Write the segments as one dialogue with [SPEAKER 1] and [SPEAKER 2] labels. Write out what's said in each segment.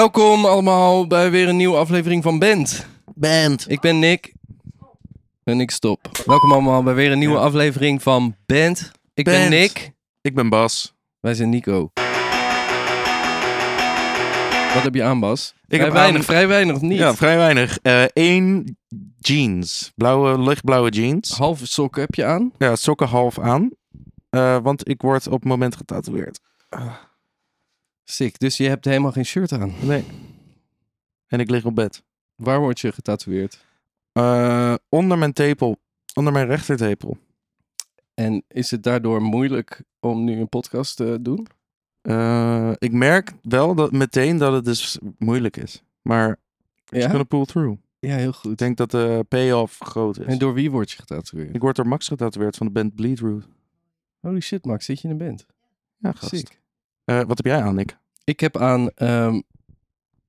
[SPEAKER 1] Welkom allemaal bij weer een nieuwe aflevering van Band.
[SPEAKER 2] Band.
[SPEAKER 1] Ik ben Nick. En ik stop. Welkom allemaal bij weer een nieuwe aflevering van Band. Ik ben
[SPEAKER 2] Band.
[SPEAKER 1] Nick.
[SPEAKER 3] Ik ben Bas.
[SPEAKER 1] Wij zijn Nico. Wat heb je aan, Bas?
[SPEAKER 3] Ik
[SPEAKER 1] vrij
[SPEAKER 3] heb
[SPEAKER 1] weinig,
[SPEAKER 3] aan-
[SPEAKER 1] vrij weinig of niet?
[SPEAKER 3] Ja, vrij weinig. Eén jeans. Blauwe, lichtblauwe jeans.
[SPEAKER 1] Halve sok heb je aan.
[SPEAKER 3] Ja, sokken half aan. Eh, want ik word op het moment getatoeëerd.
[SPEAKER 1] Sick, dus je hebt helemaal geen shirt aan.
[SPEAKER 3] Nee. En ik lig op bed.
[SPEAKER 1] Waar word je getatoeëerd?
[SPEAKER 3] Eh, onder mijn tepel. Onder mijn rechtertepel.
[SPEAKER 1] En is het daardoor moeilijk om nu een podcast te doen?
[SPEAKER 3] Eh, ik merk wel dat meteen dat het dus moeilijk is. Maar it's
[SPEAKER 1] Ja?
[SPEAKER 3] gonna pull through.
[SPEAKER 1] Ja, heel
[SPEAKER 3] Ik
[SPEAKER 1] goed.
[SPEAKER 3] denk dat de payoff groot is.
[SPEAKER 1] En door wie word je getatoeëerd?
[SPEAKER 3] Ik word door Max getatoeëerd van de band Bleedroot.
[SPEAKER 1] Holy shit, Max, zit je in een band?
[SPEAKER 3] Ja, gast.
[SPEAKER 1] Sick.
[SPEAKER 3] Eh, wat heb jij aan, Nick?
[SPEAKER 1] Ik heb aan ehm,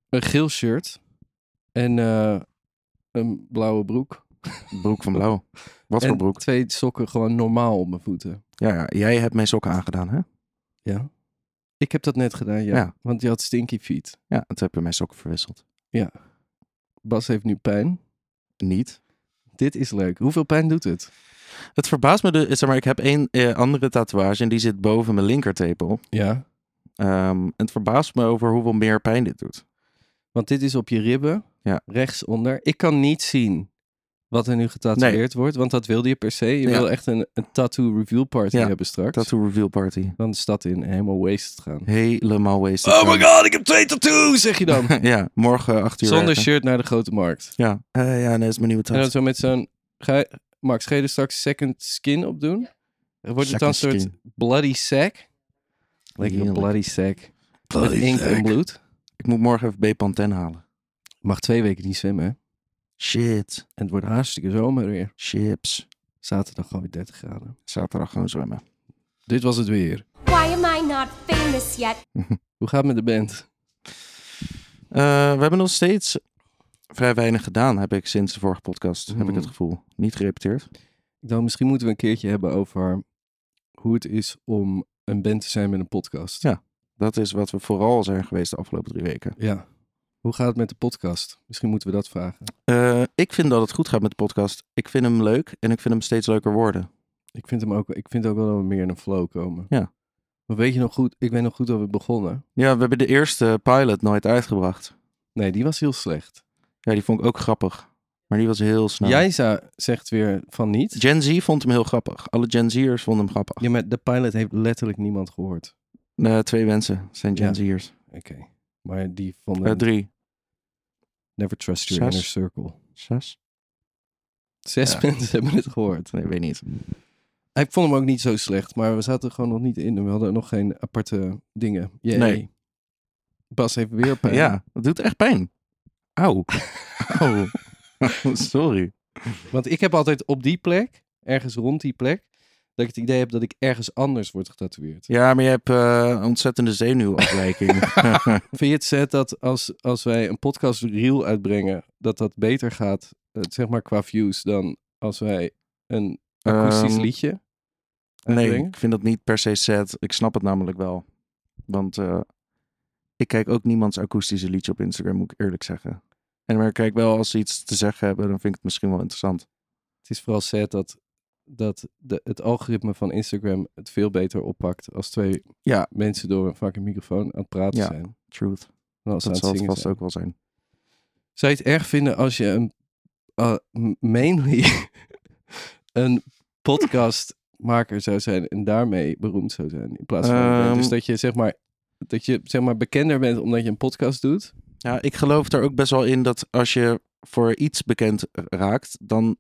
[SPEAKER 1] een geel shirt en eh, een blauwe broek.
[SPEAKER 3] Broek van blauw. Wat voor
[SPEAKER 1] en
[SPEAKER 3] broek?
[SPEAKER 1] twee sokken gewoon normaal op mijn voeten.
[SPEAKER 3] Ja, ja, jij hebt mijn sokken aangedaan, hè?
[SPEAKER 1] Ja. Ik heb dat net gedaan, ja.
[SPEAKER 3] Ja.
[SPEAKER 1] Want je had stinky feet.
[SPEAKER 3] Ja, toen heb je mijn sokken verwisseld.
[SPEAKER 1] Bas heeft nu pijn.
[SPEAKER 3] Niet.
[SPEAKER 1] Dit is leuk. Hoeveel pijn doet het?
[SPEAKER 3] Het verbaast me dus, zeg maar, ik heb één eh, andere tatoeage en die zit boven mijn linkertepel.
[SPEAKER 1] Ja.
[SPEAKER 3] Ehm, en het verbaast me over hoeveel meer pijn dit doet.
[SPEAKER 1] Want dit is op je ribben.
[SPEAKER 3] Ja.
[SPEAKER 1] Rechtsonder. Ik kan niet zien wat er nu getatoeëerd wordt. Want dat wilde je per se. Je
[SPEAKER 3] Ja.
[SPEAKER 1] wil echt een, een tattoo reveal party
[SPEAKER 3] Ja.
[SPEAKER 1] hebben straks.
[SPEAKER 3] Tattoo reveal party.
[SPEAKER 1] Dan de stad in helemaal wasted gaan.
[SPEAKER 3] Helemaal wasted.
[SPEAKER 1] Oh my god, ik heb twee tattoos, zeg je dan.
[SPEAKER 3] god! ja, morgen acht uur.
[SPEAKER 1] Zonder
[SPEAKER 3] werken.
[SPEAKER 1] shirt naar de grote markt.
[SPEAKER 3] Ja, Eh, ja, nee, dat is mijn nieuwe
[SPEAKER 1] En dan
[SPEAKER 3] tattoo.
[SPEAKER 1] zo met zo'n. Ga je, Max, ga je er straks second skin op doen? Wordt het dan een soort
[SPEAKER 3] Second
[SPEAKER 1] bloody sack? Lekker een
[SPEAKER 3] Heerlijk.
[SPEAKER 1] bloody sack. Met ink en bloed.
[SPEAKER 3] Ik moet morgen even Bepanthen halen.
[SPEAKER 1] Mag twee weken niet zwemmen, hè?
[SPEAKER 3] Shit.
[SPEAKER 1] En het wordt hartstikke zomer weer.
[SPEAKER 3] Chips.
[SPEAKER 1] Zaterdag gewoon weer 30 graden.
[SPEAKER 3] Zaterdag gewoon zwemmen.
[SPEAKER 1] Dit was het weer.
[SPEAKER 4] Why am I not famous yet?
[SPEAKER 1] Hoe gaat het met de band?
[SPEAKER 3] Eh, we hebben nog steeds vrij weinig gedaan, heb ik sinds de vorige podcast. Heb ik
[SPEAKER 1] Mhm.
[SPEAKER 3] het gevoel. Niet gerepeteerd.
[SPEAKER 1] Ik dacht, misschien moeten we een keertje hebben over hoe het is om een band te zijn met een podcast.
[SPEAKER 3] Ja. Dat is wat we vooral zijn geweest de afgelopen drie weken.
[SPEAKER 1] ja. Hoe gaat het met de podcast? Misschien moeten we dat vragen.
[SPEAKER 3] Eh, ik vind dat het goed gaat met de podcast. Ik vind hem leuk en ik vind hem steeds leuker worden.
[SPEAKER 1] Ik vind hem ook, ik vind ook wel dat we meer in een flow komen.
[SPEAKER 3] Ja.
[SPEAKER 1] Maar weet je nog goed, ik weet nog goed dat we begonnen.
[SPEAKER 3] Ja, we hebben de eerste pilot nooit uitgebracht.
[SPEAKER 1] Nee, die was heel slecht.
[SPEAKER 3] Ja, die vond ik ook grappig. Maar die was heel snel.
[SPEAKER 1] Jij za- zegt weer van niet.
[SPEAKER 3] Gen Z vond hem heel grappig. Alle Gen Z'ers vonden hem grappig.
[SPEAKER 1] Ja, maar de pilot heeft letterlijk niemand gehoord.
[SPEAKER 3] Eh, twee mensen zijn Gen
[SPEAKER 1] Ja.
[SPEAKER 3] Z'ers.
[SPEAKER 1] Oké. Maar die vonden
[SPEAKER 3] Eh, drie.
[SPEAKER 1] Never Trust Your
[SPEAKER 3] zes.
[SPEAKER 1] Inner Circle.
[SPEAKER 3] Zes?
[SPEAKER 1] Zes
[SPEAKER 3] Ja.
[SPEAKER 1] mensen hebben het gehoord.
[SPEAKER 3] Nee, weet niet.
[SPEAKER 1] Ik vond hem ook niet zo slecht, maar we zaten er gewoon nog niet in. en We hadden nog geen aparte dingen. Yay.
[SPEAKER 3] Nee.
[SPEAKER 1] Bas heeft weer pijn.
[SPEAKER 3] Ja, dat doet echt pijn. Auw. Auw. Sorry.
[SPEAKER 1] Want ik heb altijd op die plek, ergens rond die plek, dat ik het idee heb dat ik ergens anders word getatoeëerd.
[SPEAKER 3] Ja, maar je hebt eh, een ontzettende zenuwafwijking.
[SPEAKER 1] Vind je het zet dat als, als wij een podcast reel uitbrengen, dat dat beter gaat, eh, zeg maar qua views, dan als wij een akoestisch
[SPEAKER 3] Ehm,
[SPEAKER 1] liedje
[SPEAKER 3] Nee,
[SPEAKER 1] uitbrengen?
[SPEAKER 3] ik vind dat niet per se sad. Ik snap het namelijk wel. Want eh, ik kijk ook niemands akoestische liedje op Instagram, moet ik eerlijk zeggen. En maar ik kijk wel als ze iets te zeggen hebben, dan vind ik het misschien wel interessant.
[SPEAKER 1] Het is vooral sad dat, dat de, het algoritme van Instagram het veel beter oppakt als twee
[SPEAKER 3] Ja.
[SPEAKER 1] mensen door een fucking microfoon aan het praten
[SPEAKER 3] Ja,
[SPEAKER 1] zijn.
[SPEAKER 3] Truth.
[SPEAKER 1] dan als ze
[SPEAKER 3] Dat
[SPEAKER 1] aan het
[SPEAKER 3] zal het
[SPEAKER 1] zingen
[SPEAKER 3] vast
[SPEAKER 1] zijn.
[SPEAKER 3] ook wel zijn.
[SPEAKER 1] Zou je het erg vinden als je een, eh, m- mainly een podcastmaker zou zijn en daarmee beroemd zou zijn? In plaats van een band?
[SPEAKER 3] Ehm.
[SPEAKER 1] dus dat je zeg maar dat je zeg maar bekender bent omdat je een podcast doet.
[SPEAKER 3] Ja, ik geloof er ook best wel in dat als je voor iets bekend raakt, dan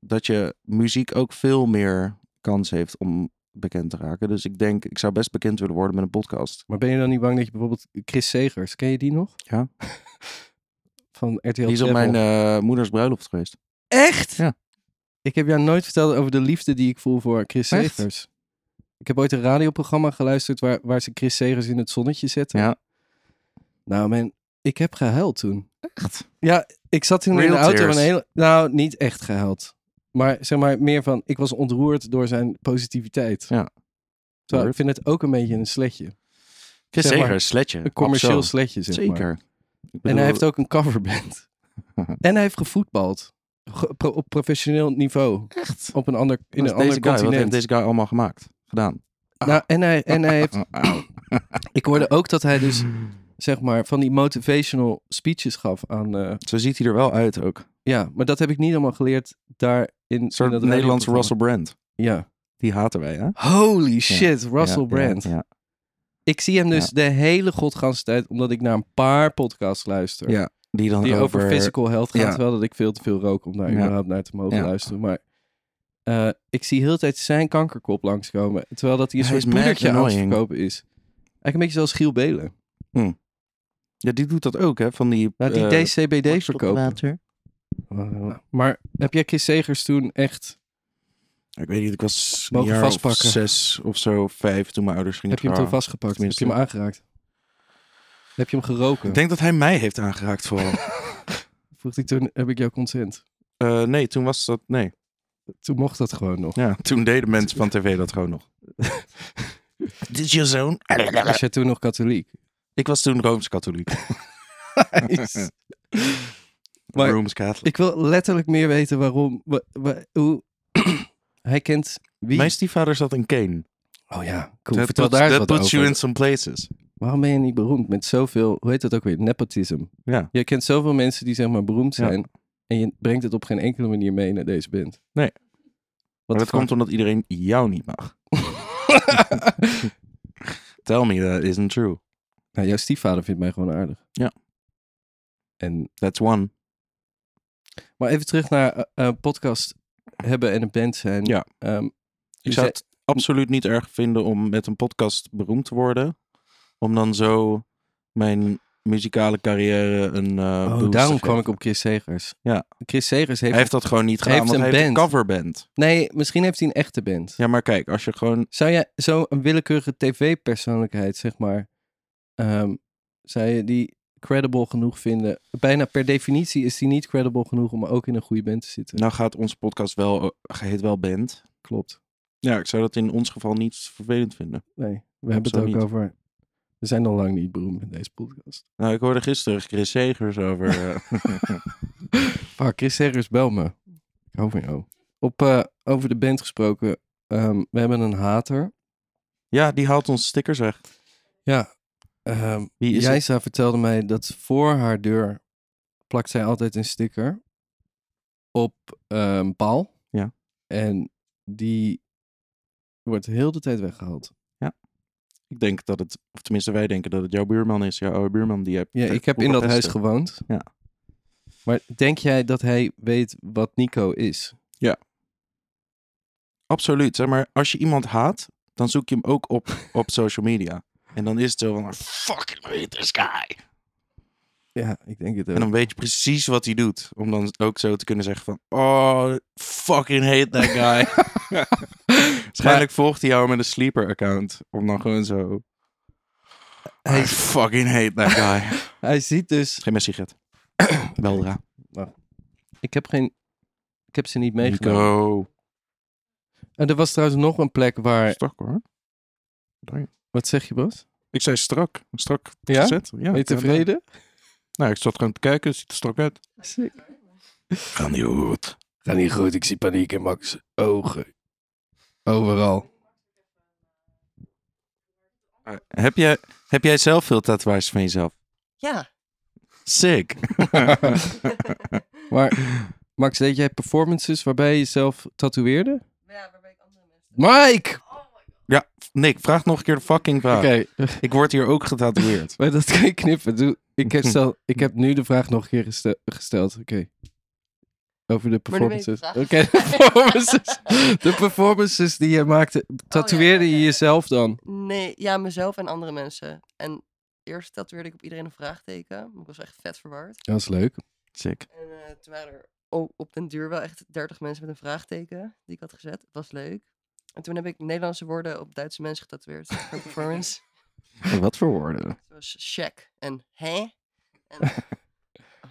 [SPEAKER 3] dat je muziek ook veel meer kans heeft om bekend te raken. Dus ik denk, ik zou best bekend willen worden met een podcast.
[SPEAKER 1] Maar ben je dan niet bang dat je bijvoorbeeld Chris Segers, ken je die nog?
[SPEAKER 3] Ja.
[SPEAKER 1] Van RTL
[SPEAKER 3] Die is op
[SPEAKER 1] Travel.
[SPEAKER 3] mijn eh, moeders bruiloft geweest.
[SPEAKER 1] Echt?
[SPEAKER 3] Ja.
[SPEAKER 1] Ik heb jou nooit verteld over de liefde die ik voel voor Chris
[SPEAKER 3] Echt?
[SPEAKER 1] Segers. Ik heb ooit een radioprogramma geluisterd waar, waar ze Chris Segers in het zonnetje zetten.
[SPEAKER 3] Ja.
[SPEAKER 1] Nou man, ik heb gehuild toen.
[SPEAKER 3] Echt?
[SPEAKER 1] Ja, ik zat toen in
[SPEAKER 3] Real
[SPEAKER 1] de auto
[SPEAKER 3] tears.
[SPEAKER 1] van een hele... Nou, niet echt gehuild. Maar zeg maar meer van, ik was ontroerd door zijn positiviteit.
[SPEAKER 3] Ja.
[SPEAKER 1] Terwijl ik vind het ook een beetje een sletje.
[SPEAKER 3] Chris
[SPEAKER 1] Zeg maar,
[SPEAKER 3] Segers, sletje.
[SPEAKER 1] Een commercieel
[SPEAKER 3] Abso.
[SPEAKER 1] sletje, zeg maar.
[SPEAKER 3] Zeker.
[SPEAKER 1] En hij heeft ook een coverband. en hij heeft gevoetbald. Ge- pro- op professioneel niveau.
[SPEAKER 3] echt.
[SPEAKER 1] Op een ander, in een
[SPEAKER 3] Wat is
[SPEAKER 1] ander
[SPEAKER 3] deze guy, wat heeft
[SPEAKER 1] continent.
[SPEAKER 3] deze Ah. guy allemaal gemaakt? Gedaan.
[SPEAKER 1] Nou, en hij, en hij heeft...
[SPEAKER 3] Oh, auw.
[SPEAKER 1] Ik hoorde ook dat hij dus, zeg maar, van die motivational speeches gaf aan... eh,
[SPEAKER 3] Zo ziet hij er wel uit ook. Een
[SPEAKER 1] ja, maar dat heb ik niet allemaal geleerd daar in... in
[SPEAKER 3] soort
[SPEAKER 1] dat
[SPEAKER 3] Nederlandse
[SPEAKER 1] radioprogramma.
[SPEAKER 3] Russell Brand.
[SPEAKER 1] Ja.
[SPEAKER 3] Die haten wij, hè?
[SPEAKER 1] Holy shit, Russell
[SPEAKER 3] Ja,
[SPEAKER 1] Brand.
[SPEAKER 3] Ja,
[SPEAKER 1] Ik zie hem dus
[SPEAKER 3] Ja.
[SPEAKER 1] de hele godganse tijd, omdat ik naar een paar podcasts luister.
[SPEAKER 3] ja. Ja, Die dan
[SPEAKER 1] die
[SPEAKER 3] over...
[SPEAKER 1] over physical health gaan,
[SPEAKER 3] Ja.
[SPEAKER 1] terwijl dat ik veel te veel rook om daar
[SPEAKER 3] Ja.
[SPEAKER 1] überhaupt naar te mogen
[SPEAKER 3] Ja.
[SPEAKER 1] luisteren. Maar eh, ik zie heel de tijd zijn kankerkop langskomen, terwijl dat hij een
[SPEAKER 3] Hij
[SPEAKER 1] soort
[SPEAKER 3] is mad
[SPEAKER 1] poedertje aan het
[SPEAKER 3] annoying.
[SPEAKER 1] verkopen is. Eigenlijk een beetje zoals Giel Belen.
[SPEAKER 3] Ja, die doet dat ook, hè? Van die...
[SPEAKER 1] Laat die
[SPEAKER 3] eh,
[SPEAKER 1] DCBD verkopen. Eh, maar heb jij Chris Segers toen echt...
[SPEAKER 3] Ik weet niet, ik was een
[SPEAKER 1] Mogen
[SPEAKER 3] jaar
[SPEAKER 1] vastpakken.
[SPEAKER 3] Of zes of zo, vijf, toen mijn ouders gingen
[SPEAKER 1] Heb je hem toen
[SPEAKER 3] trouwen.
[SPEAKER 1] vastgepakt?
[SPEAKER 3] tenminste.
[SPEAKER 1] Heb je hem aangeraakt? Heb je hem geroken?
[SPEAKER 3] Ik denk dat hij mij heeft aangeraakt vooral.
[SPEAKER 1] Vroeg hij toen, heb ik jouw consent?
[SPEAKER 3] Eh, nee, toen was dat... Nee.
[SPEAKER 1] Toen mocht dat gewoon nog.
[SPEAKER 3] Ja, toen deden mensen van tv dat gewoon nog. Dit is je zoon?
[SPEAKER 1] Was jij toen nog katholiek?
[SPEAKER 3] Ik was toen Rooms-katholiek.
[SPEAKER 1] Nice. Maar-
[SPEAKER 3] Rooms-katholiek.
[SPEAKER 1] Ik wil letterlijk meer weten waarom. wa- wa- hoe hij kent wie.
[SPEAKER 3] Mijn stiefvader zat in Kane.
[SPEAKER 1] Oh ja, cool.
[SPEAKER 3] Dat
[SPEAKER 1] Vertel
[SPEAKER 3] puts-
[SPEAKER 1] daar eens
[SPEAKER 3] that
[SPEAKER 1] wat
[SPEAKER 3] puts you
[SPEAKER 1] over.
[SPEAKER 3] in some places.
[SPEAKER 1] Waarom ben je niet beroemd met zoveel, hoe heet dat ook weer, nepotism?
[SPEAKER 3] Ja.
[SPEAKER 1] Je kent zoveel mensen die zeg maar beroemd
[SPEAKER 3] Ja.
[SPEAKER 1] zijn en je brengt het op geen enkele manier mee naar deze band.
[SPEAKER 3] Nee.
[SPEAKER 1] Wat
[SPEAKER 3] Maar dat komt omdat iedereen jou niet mag. Tell me that isn't true.
[SPEAKER 1] Nou, jouw stiefvader vindt mij gewoon aardig.
[SPEAKER 3] Ja.
[SPEAKER 1] En,
[SPEAKER 3] That's one.
[SPEAKER 1] maar even terug naar eh, eh, podcast hebben en een band zijn.
[SPEAKER 3] Ja.
[SPEAKER 1] Ehm,
[SPEAKER 3] Ik
[SPEAKER 1] Dus jij-
[SPEAKER 3] zou het absoluut niet erg vinden om met een podcast beroemd te worden. Om dan zo mijn muzikale carrière een eh, boost
[SPEAKER 1] oh,
[SPEAKER 3] te
[SPEAKER 1] daarom
[SPEAKER 3] geven.
[SPEAKER 1] kwam ik op Chris Segers.
[SPEAKER 3] Ja.
[SPEAKER 1] Chris Segers heeft...
[SPEAKER 3] Hij heeft dat gewoon niet gedaan,
[SPEAKER 1] heeft
[SPEAKER 3] want
[SPEAKER 1] een
[SPEAKER 3] hij heeft een
[SPEAKER 1] band.
[SPEAKER 3] coverband.
[SPEAKER 1] Nee, misschien heeft hij een echte band.
[SPEAKER 3] Ja, maar kijk, als je gewoon...
[SPEAKER 1] Zou jij zo'n willekeurige tv-persoonlijkheid, zeg maar, ehm, zou je die credible genoeg vinden? Bijna per definitie is die niet credible genoeg om ook in een goede band te zitten.
[SPEAKER 3] Nou gaat onze podcast wel, eh, heet wel band.
[SPEAKER 1] Klopt.
[SPEAKER 3] Ja, ik zou dat in ons geval niet vervelend vinden.
[SPEAKER 1] Nee, we hebben het
[SPEAKER 3] zo
[SPEAKER 1] ook
[SPEAKER 3] niet.
[SPEAKER 1] over... We zijn al lang niet beroemd in deze podcast.
[SPEAKER 3] Nou, ik hoorde gisteren Chris Segers over... eh,
[SPEAKER 1] Fuck, Chris Serres, bel me. Ik hou van jou. Op, eh, over de band gesproken, ehm, we hebben een hater.
[SPEAKER 3] ja, die haalt ons stickers weg.
[SPEAKER 1] Ja. ehm,
[SPEAKER 3] Wie is het?
[SPEAKER 1] Jijsa vertelde mij dat voor haar deur plakt zij altijd een sticker op eh, een paal.
[SPEAKER 3] Ja.
[SPEAKER 1] En die wordt heel de tijd weggehaald.
[SPEAKER 3] Ik denk dat het, of tenminste wij denken dat het jouw buurman is. Jouw oude buurman die eh, heb
[SPEAKER 1] Ja, ik heb in dat huis gewoond.
[SPEAKER 3] Ja.
[SPEAKER 1] Maar denk jij dat hij weet wat Nico is?
[SPEAKER 3] Absoluut. Zeg maar, als je iemand haat, dan zoek je hem ook op op social media. En dan is het zo van, fucking hate this guy.
[SPEAKER 1] Ja, ik denk het
[SPEAKER 3] En
[SPEAKER 1] ook.
[SPEAKER 3] dan weet je precies wat hij doet. Om dan ook zo te kunnen zeggen van, oh, fucking hate that guy. Waarschijnlijk volgt hij jou met een sleeper account. Om dan gewoon zo, I
[SPEAKER 1] Hij,
[SPEAKER 3] fucking hate that guy.
[SPEAKER 1] hij ziet dus...
[SPEAKER 3] Geen meer sigaret. Weldra.
[SPEAKER 1] Ik heb geen... Ik heb ze niet meegenomen.
[SPEAKER 3] Nico.
[SPEAKER 1] En er was trouwens nog een plek waar...
[SPEAKER 3] Strak hoor.
[SPEAKER 1] Wat zeg je, Bas?
[SPEAKER 3] Ik zei strak. Strak
[SPEAKER 1] Ja?
[SPEAKER 3] gezet. Ja,
[SPEAKER 1] Ben je tevreden?
[SPEAKER 3] Nou, ik zat gewoon te kijken. Ziet er strak uit. Gaan die goed.
[SPEAKER 1] Ga niet goed, ik zie paniek in Max ogen. Overal.
[SPEAKER 3] Eh, Heb jij, heb jij zelf veel tatoeages van jezelf?
[SPEAKER 2] Ja.
[SPEAKER 3] Sick.
[SPEAKER 1] Maar Max, deed jij performances waarbij je jezelf tatoeëerde?
[SPEAKER 2] Ja, waarbij ik andere mensen.
[SPEAKER 1] Mike!
[SPEAKER 3] Nick, vraag nog een keer de fucking vraag.
[SPEAKER 1] Oké,
[SPEAKER 3] Ik word hier ook getatoeëerd.
[SPEAKER 1] maar dat kan je knippen. Doe- ik, heb stel, ik heb nu de vraag nog een keer gestel- gesteld. Oké. Over de
[SPEAKER 2] Maar nu weet ik
[SPEAKER 1] performances.
[SPEAKER 2] de vraag.
[SPEAKER 1] Oké, de performances. De performances die je maakte. Tatoeëerde
[SPEAKER 2] Oh ja, ja,
[SPEAKER 1] je
[SPEAKER 2] ja.
[SPEAKER 1] jezelf dan?
[SPEAKER 2] Nee, ja, mezelf en andere mensen. En eerst tatoeëerde ik op iedereen een vraagteken. want Ik was echt vet verward.
[SPEAKER 1] Dat is leuk.
[SPEAKER 3] Sick.
[SPEAKER 2] En eh, toen waren er o- op den duur wel echt 30 mensen met een vraagteken die ik had gezet. Het was leuk. En toen heb ik Nederlandse woorden op Duitse mensen getatoeëerd voor een performance.
[SPEAKER 1] Oh,
[SPEAKER 3] wat voor woorden?
[SPEAKER 2] Zoals check en hè en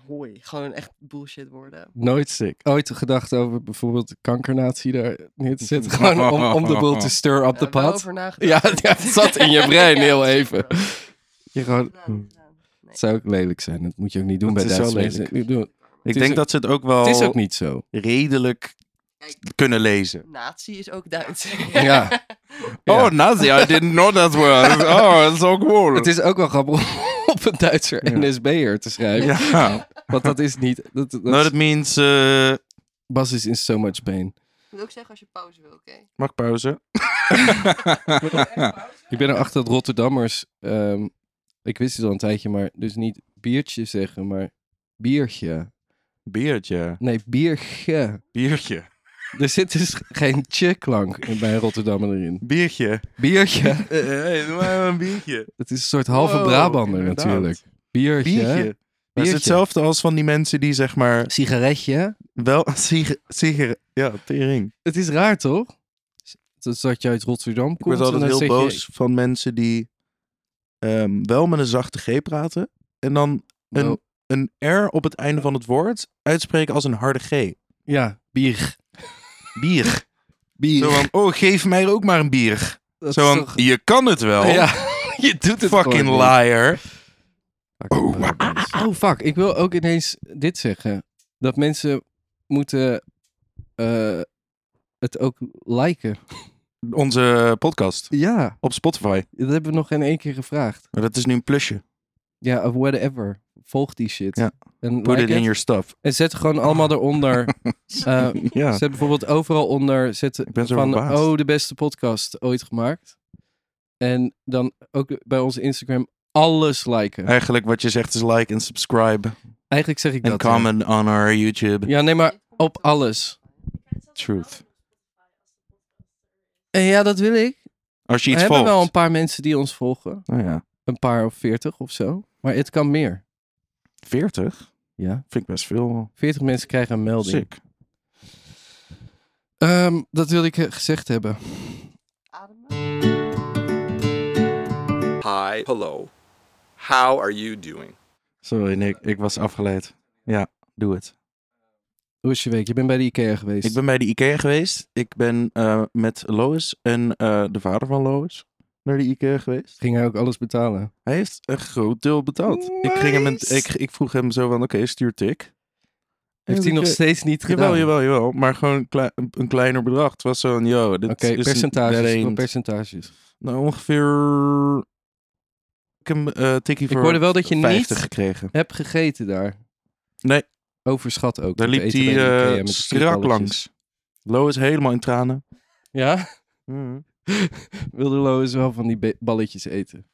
[SPEAKER 2] hoi. Gewoon echt bullshit woorden.
[SPEAKER 1] Nooit
[SPEAKER 3] Sick.
[SPEAKER 1] ooit gedacht over bijvoorbeeld kankernatie daar neer te zetten. Gewoon om, om de boel te stir op
[SPEAKER 2] Ja,
[SPEAKER 1] de
[SPEAKER 2] ik ben
[SPEAKER 1] pad.
[SPEAKER 2] over Eh, nagedacht.
[SPEAKER 1] Ja, ja, het zat in je brein
[SPEAKER 2] Ja,
[SPEAKER 1] heel
[SPEAKER 2] het zat in
[SPEAKER 1] even.
[SPEAKER 2] mijn brein.
[SPEAKER 1] Je gewoon,
[SPEAKER 2] Gedaan, gedaan.
[SPEAKER 1] Het zou ook lelijk zijn. Dat moet je ook niet doen
[SPEAKER 3] Het
[SPEAKER 1] bij
[SPEAKER 3] is wel
[SPEAKER 1] Duitse mensen. Ik bedoel,
[SPEAKER 3] Ik
[SPEAKER 1] is
[SPEAKER 3] denk
[SPEAKER 1] ook-
[SPEAKER 3] dat ze het ook wel
[SPEAKER 1] Het is ook niet zo.
[SPEAKER 3] redelijk kunnen lezen.
[SPEAKER 2] Nazi is ook Duits.
[SPEAKER 1] Ja. Ja.
[SPEAKER 3] Oh, Nazi, I didn't know that word. Oh, dat is ook cool.
[SPEAKER 1] Het is ook wel grappig om op een Duitser
[SPEAKER 3] Ja.
[SPEAKER 1] NSB'er te schrijven.
[SPEAKER 3] Ja.
[SPEAKER 1] Want dat is niet... Dat, Nou, dat,
[SPEAKER 3] No, that Nou, means... eh,
[SPEAKER 1] Bas is in so much pain.
[SPEAKER 2] Ik wil ook zeggen als je pauze wil, oké?
[SPEAKER 3] mag ik pauze?
[SPEAKER 1] Ik ben erachter dat Rotterdammers... ehm, ik wist het al een tijdje, maar dus niet biertje zeggen, maar biertje.
[SPEAKER 3] Biertje.
[SPEAKER 1] Nee, biertje.
[SPEAKER 3] Biertje.
[SPEAKER 1] Er zit dus geen tje-klank in- bij Rotterdammer erin.
[SPEAKER 3] Biertje.
[SPEAKER 1] Biertje.
[SPEAKER 3] Eh, hey, doe maar een biertje.
[SPEAKER 1] Het is een soort halve
[SPEAKER 3] Wow,
[SPEAKER 1] Brabander
[SPEAKER 3] inderdaad.
[SPEAKER 1] natuurlijk. Biertje.
[SPEAKER 3] Biertje. Dat is
[SPEAKER 1] Biertje.
[SPEAKER 3] hetzelfde als van die mensen die zeg maar
[SPEAKER 1] Sigaretje.
[SPEAKER 3] wel... Sigar... sigar ja, tering.
[SPEAKER 1] Het is raar, toch? Dat, dat je uit Rotterdam
[SPEAKER 3] Ik
[SPEAKER 1] komt.
[SPEAKER 3] word altijd
[SPEAKER 1] en dan
[SPEAKER 3] heel
[SPEAKER 1] zeg je-
[SPEAKER 3] boos van mensen die ehm, wel met een zachte G praten en dan een,
[SPEAKER 1] Oh,
[SPEAKER 3] een R op het einde van het woord uitspreken als een harde G.
[SPEAKER 1] ja, bier.
[SPEAKER 3] Bier.
[SPEAKER 1] Bier.
[SPEAKER 3] Zo van, oh, geef mij ook maar een bier.
[SPEAKER 1] Dat
[SPEAKER 3] Zo
[SPEAKER 1] is
[SPEAKER 3] van,
[SPEAKER 1] toch-
[SPEAKER 3] je kan het wel.
[SPEAKER 1] Ja, je doet het
[SPEAKER 3] Fucking
[SPEAKER 1] gewoon niet.
[SPEAKER 3] liar.
[SPEAKER 1] Fucking
[SPEAKER 3] Oh,
[SPEAKER 1] liar, mensen. Oh, fuck. Ik wil ook ineens dit zeggen. Dat mensen moeten eh, het ook liken.
[SPEAKER 3] Onze podcast
[SPEAKER 1] Ja.
[SPEAKER 3] op Spotify.
[SPEAKER 1] Dat hebben we nog geen één keer gevraagd.
[SPEAKER 3] Maar dat is nu een plusje.
[SPEAKER 1] Ja, of whatever. Volg die shit.
[SPEAKER 3] Ja.
[SPEAKER 1] En,
[SPEAKER 3] Put
[SPEAKER 1] like
[SPEAKER 3] it in
[SPEAKER 1] het.
[SPEAKER 3] your stuff.
[SPEAKER 1] en zet gewoon allemaal eronder. eh,
[SPEAKER 3] Ja.
[SPEAKER 1] Zet bijvoorbeeld overal onder zet
[SPEAKER 3] Ik ben zo
[SPEAKER 1] van
[SPEAKER 3] verbaasd.
[SPEAKER 1] oh de beste podcast ooit gemaakt. En dan ook bij onze Instagram alles liken.
[SPEAKER 3] Eigenlijk wat je zegt is like en subscribe.
[SPEAKER 1] Eigenlijk zeg ik
[SPEAKER 3] En
[SPEAKER 1] dat. hè.
[SPEAKER 3] comment on our YouTube.
[SPEAKER 1] Ja, nee, maar op alles.
[SPEAKER 3] Truth.
[SPEAKER 1] En ja, dat wil ik.
[SPEAKER 3] Als je
[SPEAKER 1] We
[SPEAKER 3] iets
[SPEAKER 1] hebben wel een
[SPEAKER 3] volgt.
[SPEAKER 1] paar mensen die ons volgen.
[SPEAKER 3] Nou ja,
[SPEAKER 1] Een paar of veertig of zo. Maar het kan meer.
[SPEAKER 3] 40
[SPEAKER 1] Ja.
[SPEAKER 3] vind ik best veel.
[SPEAKER 1] Veertig mensen krijgen een melding.
[SPEAKER 3] Sick.
[SPEAKER 1] Ehm, dat wilde ik eh, gezegd hebben.
[SPEAKER 2] Ademen.
[SPEAKER 5] Hi, hello. How are you doing?
[SPEAKER 3] Sorry Nick, ik was afgeleid. Ja, doe het.
[SPEAKER 1] Hoe is je week? Je bent bij de IKEA geweest.
[SPEAKER 3] Ik ben bij de IKEA geweest. Ik ben eh, met Lois en eh, de vader van Lois naar de IKEA geweest.
[SPEAKER 1] Ging hij ook alles betalen?
[SPEAKER 3] Hij heeft een groot deel betaald. Ik, ging hem een,
[SPEAKER 1] Nice.
[SPEAKER 3] ik, ik vroeg hem zo van, oké, stuur tik.
[SPEAKER 1] Heeft hij nog
[SPEAKER 3] ik-
[SPEAKER 1] steeds niet gedaan?
[SPEAKER 3] Jawel, jawel, jawel. Maar gewoon een, klei- een- een kleiner bedrag. Het was zo'n, yo, dit
[SPEAKER 1] Oké,
[SPEAKER 3] is...
[SPEAKER 1] percentages.
[SPEAKER 3] that
[SPEAKER 1] gewoon
[SPEAKER 3] ain't-
[SPEAKER 1] percentages.
[SPEAKER 3] Nou, ongeveer... Ik heb een eh, tikkie
[SPEAKER 1] Ik
[SPEAKER 3] voor
[SPEAKER 1] hoorde wel dat je
[SPEAKER 3] 50
[SPEAKER 1] niet
[SPEAKER 3] gekregen.
[SPEAKER 1] heb gegeten daar.
[SPEAKER 3] Nee.
[SPEAKER 1] Overschat ook.
[SPEAKER 3] Daar
[SPEAKER 1] het
[SPEAKER 3] liep
[SPEAKER 1] eten bij
[SPEAKER 3] hij
[SPEAKER 1] de
[SPEAKER 3] eh,
[SPEAKER 1] IKEA met de
[SPEAKER 3] strak
[SPEAKER 1] frietballetjes.
[SPEAKER 3] langs. Lois helemaal in tranen.
[SPEAKER 1] Ja? Wilde Lois wel van die be- balletjes eten.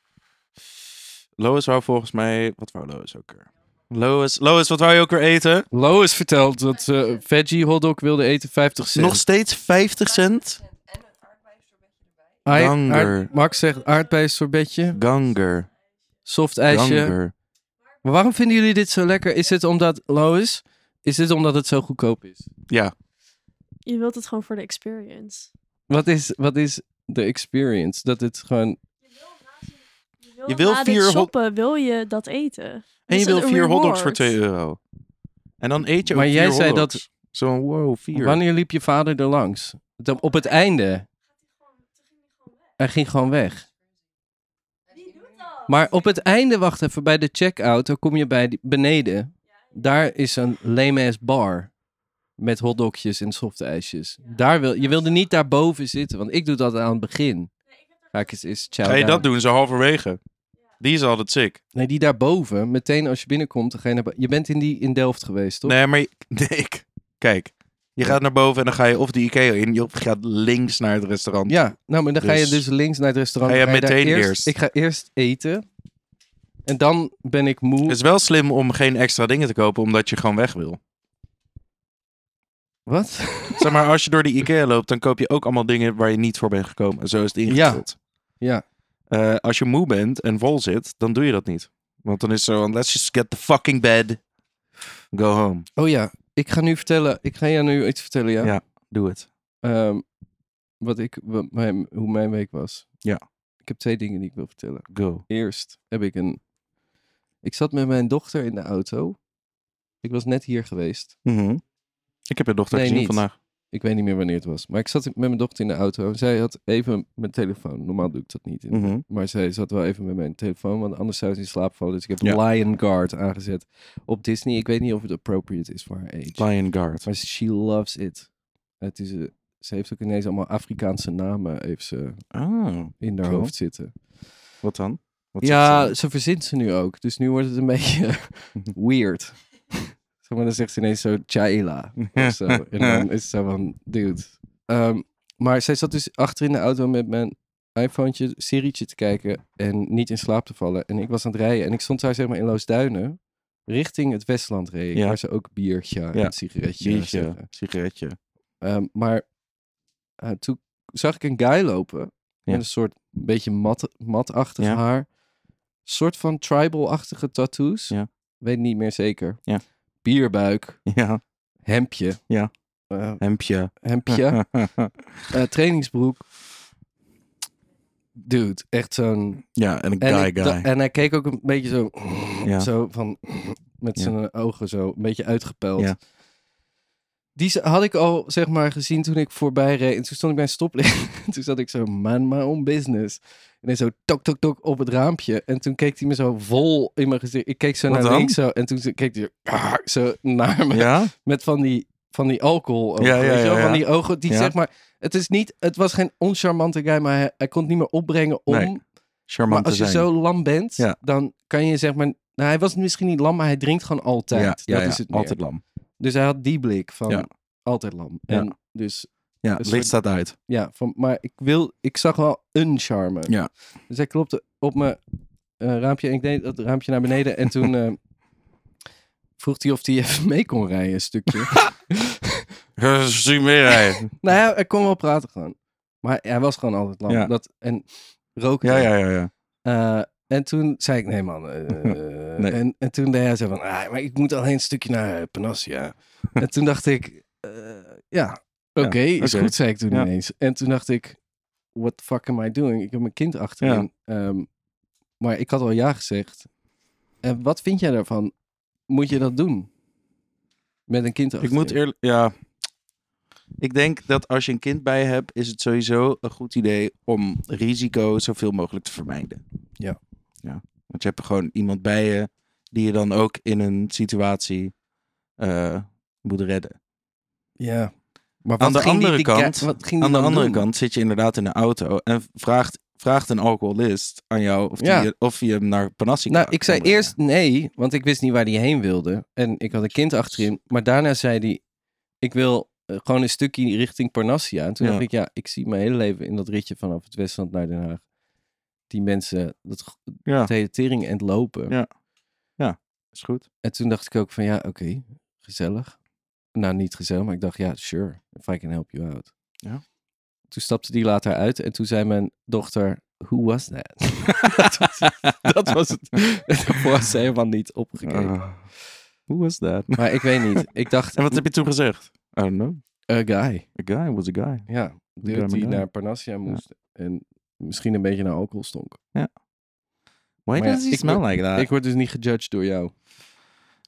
[SPEAKER 3] Lois wou volgens mij... Wat wou Lois ook weer? Lois, Lois, wat wou je ook weer eten?
[SPEAKER 1] Lois vertelt dat ze veggie hotdog wilde eten 50 cent.
[SPEAKER 3] Nog steeds 50 cent?
[SPEAKER 1] Ai-
[SPEAKER 3] ganger.
[SPEAKER 1] aard- Max zegt aardbeien sorbetje,
[SPEAKER 3] Ganger.
[SPEAKER 1] soft ijsje.
[SPEAKER 3] Ganger.
[SPEAKER 1] Maar waarom vinden jullie dit zo lekker? Is het omdat, Lois, is dit omdat het zo goedkoop is?
[SPEAKER 3] Ja.
[SPEAKER 6] Je wilt het gewoon voor de experience.
[SPEAKER 1] Wat is, wat is de experience? Dat het gewoon...
[SPEAKER 3] Je wil
[SPEAKER 6] na dit
[SPEAKER 3] vier hot-
[SPEAKER 6] shoppen, wil je dat eten?
[SPEAKER 3] En je
[SPEAKER 6] Is het
[SPEAKER 3] wil
[SPEAKER 6] een
[SPEAKER 3] vier hotdogs voor
[SPEAKER 6] reward?
[SPEAKER 3] 2 euro. En dan eet je ook
[SPEAKER 1] Maar jij
[SPEAKER 3] vier
[SPEAKER 1] zei dat-
[SPEAKER 3] hotdogs. Zo'n wow, vier.
[SPEAKER 1] Wanneer liep je vader er langs? Dan Op het einde. Hij ging gewoon weg. Maar op het einde, wacht even, bij de checkout, dan kom je bij die- beneden. Daar is een lame-ass bar. Met hotdogjes en softijsjes. Daar wil, je wilde niet daarboven zitten, want ik doe dat aan het begin. Ga ik eens, eens chow
[SPEAKER 3] Ga je
[SPEAKER 1] down.
[SPEAKER 3] dat doen, zo halverwege? Die is altijd sick.
[SPEAKER 1] Nee, die daarboven, meteen als je binnenkomt, dan ga je naar bo- Je bent in die in Delft geweest, toch?
[SPEAKER 3] Nee, maar je- Nick, kijk. Je gaat naar boven en dan ga je of de Ikea in, of je gaat links naar het restaurant.
[SPEAKER 1] Ja, nou, maar dan ga je
[SPEAKER 3] Dus-
[SPEAKER 1] dus links naar het restaurant.
[SPEAKER 3] Ga je
[SPEAKER 1] dan daar
[SPEAKER 3] meteen eerst?
[SPEAKER 1] Ik ga eerst eten. En dan ben ik moe.
[SPEAKER 3] Het is wel slim om geen extra dingen te kopen, omdat je gewoon weg wil.
[SPEAKER 1] Wat?
[SPEAKER 3] Zeg maar, als je door de Ikea loopt, dan koop je ook allemaal dingen waar je niet voor bent gekomen. Zo is het ingesteld.
[SPEAKER 1] Ja.
[SPEAKER 3] Eh, als je moe bent en vol zit, dan doe je dat niet. Want dan is het zo, van, let's just get the fucking bed. Go home.
[SPEAKER 1] Oh ja, ik ga nu vertellen. Ik ga jou nu iets vertellen, ja.
[SPEAKER 3] Ja. Doe het.
[SPEAKER 1] Ehm, wat ik, wat mijn, hoe mijn week was.
[SPEAKER 3] Ja.
[SPEAKER 1] Ik heb twee dingen die ik wil vertellen.
[SPEAKER 3] Go.
[SPEAKER 1] Eerst heb ik een... Ik zat met mijn dochter in de auto. Ik was net hier geweest.
[SPEAKER 3] Ik heb je dochter
[SPEAKER 1] Mhm. Nee,
[SPEAKER 3] gezien
[SPEAKER 1] niet.
[SPEAKER 3] vandaag.
[SPEAKER 1] Ik weet niet meer wanneer het was. Maar ik zat met mijn dochter in de auto. Zij had even mijn telefoon. Normaal doe ik dat niet.
[SPEAKER 3] Mhm.
[SPEAKER 1] Maar zij zat wel even met mijn telefoon. Want anders zou ze in slaap vallen. Dus ik heb
[SPEAKER 3] Ja.
[SPEAKER 1] Lion Guard aangezet op Disney. Ik weet niet of het appropriate is voor haar age.
[SPEAKER 3] Lion Guard.
[SPEAKER 1] Maar she loves it. Het is, eh, ze heeft ook ineens allemaal Afrikaanse namen heeft ze
[SPEAKER 3] Oh,
[SPEAKER 1] in haar
[SPEAKER 3] Cool.
[SPEAKER 1] hoofd zitten.
[SPEAKER 3] wat dan? Wat
[SPEAKER 1] ja,
[SPEAKER 3] zegt
[SPEAKER 1] ze, verzint ze nu ook. Dus nu wordt het een beetje weird. zeg maar, dan zegt ze ineens zo Chaila of zo. En dan is het zo van, dude. Ehm, maar zij zat dus achter in de auto met mijn iPhone, serietje te kijken en niet in slaap te vallen. En ik was aan het rijden en ik stond daar zeg maar in Loosduinen richting het Westland reden,
[SPEAKER 3] Ja.
[SPEAKER 1] waar ze ook biertje
[SPEAKER 3] Ja.
[SPEAKER 1] en sigaretje
[SPEAKER 3] Biertje,
[SPEAKER 1] zeggen.
[SPEAKER 3] sigaretje.
[SPEAKER 1] Ehm, maar eh, toen zag ik een guy lopen.
[SPEAKER 3] Ja.
[SPEAKER 1] Met een soort beetje mat, matachtig
[SPEAKER 3] Ja.
[SPEAKER 1] haar. soort van tribal-achtige tattoos.
[SPEAKER 3] Ja.
[SPEAKER 1] Weet niet meer zeker.
[SPEAKER 3] Ja.
[SPEAKER 1] Bierbuik,
[SPEAKER 3] Ja,
[SPEAKER 1] hemdje.
[SPEAKER 3] Ja.
[SPEAKER 1] eh,
[SPEAKER 3] hemdje.
[SPEAKER 1] hemdje, eh, trainingsbroek. Dude, echt zo'n...
[SPEAKER 3] ja, en een
[SPEAKER 1] En,
[SPEAKER 3] guy
[SPEAKER 1] ik
[SPEAKER 3] guy.
[SPEAKER 1] da- en hij keek ook een beetje zo...
[SPEAKER 3] Ja.
[SPEAKER 1] Zo van... Met
[SPEAKER 3] Ja.
[SPEAKER 1] zijn ogen zo, een beetje uitgepeld.
[SPEAKER 3] Ja.
[SPEAKER 1] Die z- had ik al, zeg maar, gezien toen ik voorbij reed. En toen stond ik bij een stoplicht. En toen zat ik zo, man, my own business. En hij zo, tok, tok, tok, op het raampje. En toen keek hij me zo vol in mijn gezicht. Ik keek zo
[SPEAKER 3] Wat
[SPEAKER 1] naar
[SPEAKER 3] dan?
[SPEAKER 1] links zo. En toen ze- keek hij zo, "Ah," zo naar me.
[SPEAKER 3] ja?
[SPEAKER 1] Met van die, van die alcohol ogen,
[SPEAKER 3] Ja, ja,
[SPEAKER 1] weet je wel?
[SPEAKER 3] ja, ja.
[SPEAKER 1] Van die ogen, die
[SPEAKER 3] Ja.
[SPEAKER 1] zeg maar... Het, is niet, het was geen oncharmante guy, maar hij, hij kon het niet meer opbrengen om...
[SPEAKER 3] Nee, Charmant
[SPEAKER 1] maar als je
[SPEAKER 3] te zijn.
[SPEAKER 1] zo lam bent,
[SPEAKER 3] Ja.
[SPEAKER 1] dan kan je zeg maar... Nou, hij was misschien niet lam, maar hij drinkt gewoon altijd.
[SPEAKER 3] ja, ja,
[SPEAKER 1] Dat
[SPEAKER 3] ja,
[SPEAKER 1] is het meer.
[SPEAKER 3] altijd lam.
[SPEAKER 1] Dus hij had die blik van
[SPEAKER 3] Ja.
[SPEAKER 1] altijd lam.
[SPEAKER 3] Ja.
[SPEAKER 1] En dus
[SPEAKER 3] Ja, het
[SPEAKER 1] Een
[SPEAKER 3] licht
[SPEAKER 1] soort-
[SPEAKER 3] staat uit.
[SPEAKER 1] ja, van, maar ik, wil, ik zag wel een charme.
[SPEAKER 3] Ja.
[SPEAKER 1] Dus hij klopte op mijn eh, raampje en ik deed dat raampje naar beneden. En toen eh, vroeg hij of hij even mee kon rijden, een stukje.
[SPEAKER 3] Zie meer
[SPEAKER 1] nou ja, hij kon wel praten gewoon. Maar hij was gewoon altijd lam.
[SPEAKER 3] Ja.
[SPEAKER 1] Dat, en rookte.
[SPEAKER 3] Ja, ja, ja, ja.
[SPEAKER 1] Eh, en toen zei ik, nee man. eh,
[SPEAKER 3] Nee.
[SPEAKER 1] En, en toen deed hij zo van, ah, maar ik moet alleen een stukje naar eh, Panassia. en toen dacht ik, eh, ja, oké, is
[SPEAKER 3] oké.
[SPEAKER 1] goed, zei ik toen
[SPEAKER 3] Ja.
[SPEAKER 1] ineens. En toen dacht ik, what the fuck am I doing? Ik heb mijn kind achterin. Ehm, maar ik had al ja gezegd. En wat vind jij daarvan? Moet je dat doen? Met een kind
[SPEAKER 3] Ik
[SPEAKER 1] achterin.
[SPEAKER 3] moet eerlijk... Ja. Ik denk dat als je een kind bij je hebt, is het sowieso een goed idee om risico zoveel mogelijk te vermijden.
[SPEAKER 1] Ja.
[SPEAKER 3] ja. Want je hebt gewoon iemand bij je die je dan ook in een situatie eh, moet redden.
[SPEAKER 1] Ja. Maar
[SPEAKER 3] Aan
[SPEAKER 1] wat
[SPEAKER 3] de
[SPEAKER 1] ging die-
[SPEAKER 3] andere
[SPEAKER 1] die guy-
[SPEAKER 3] kant-
[SPEAKER 1] wat ging die
[SPEAKER 3] Aan de
[SPEAKER 1] dan
[SPEAKER 3] andere
[SPEAKER 1] doen?
[SPEAKER 3] kant zit je inderdaad in de auto en vraagt, vraagt een alcoholist aan jou of, die,
[SPEAKER 1] Ja.
[SPEAKER 3] of je hem naar Panassi
[SPEAKER 1] Nou,
[SPEAKER 3] kan
[SPEAKER 1] ik zei
[SPEAKER 3] brengen.
[SPEAKER 1] eerst nee, want ik wist niet waar hij heen wilde. En ik had een kind achterin. Maar daarna zei hij, ik wil eh, gewoon een stukje richting Parnassia. En toen
[SPEAKER 3] Ja.
[SPEAKER 1] dacht ik, ja, ik zie mijn hele leven in dat ritje vanaf het Westland naar Den Haag. Die mensen, dat g-
[SPEAKER 3] Ja,
[SPEAKER 1] de hele tering en het lopen.
[SPEAKER 3] Ja. is goed.
[SPEAKER 1] En toen dacht ik ook van, ja, oké, gezellig. Nou, niet gezellig, maar ik dacht, ja, sure, if I can help you out.
[SPEAKER 3] Ja.
[SPEAKER 1] Toen stapte die later uit en toen zei mijn dochter, who was that? dat, was, dat was het. Daarvoor was ze helemaal niet opgekeken.
[SPEAKER 3] Who was that?
[SPEAKER 1] Maar ik weet niet. Ik dacht,
[SPEAKER 3] Ah. En wat heb je toen gezegd? I don't know.
[SPEAKER 1] a guy.
[SPEAKER 3] A guy was a guy.
[SPEAKER 1] Ja, dude
[SPEAKER 3] guy, my
[SPEAKER 1] die
[SPEAKER 3] guy.
[SPEAKER 1] naar Parnassia moest. En misschien een beetje naar alcohol stonk.
[SPEAKER 3] Why
[SPEAKER 1] Maar ja,
[SPEAKER 3] does he
[SPEAKER 1] ik
[SPEAKER 3] smell
[SPEAKER 1] ben-
[SPEAKER 3] like that?
[SPEAKER 1] Ik word dus niet gejudged door jou.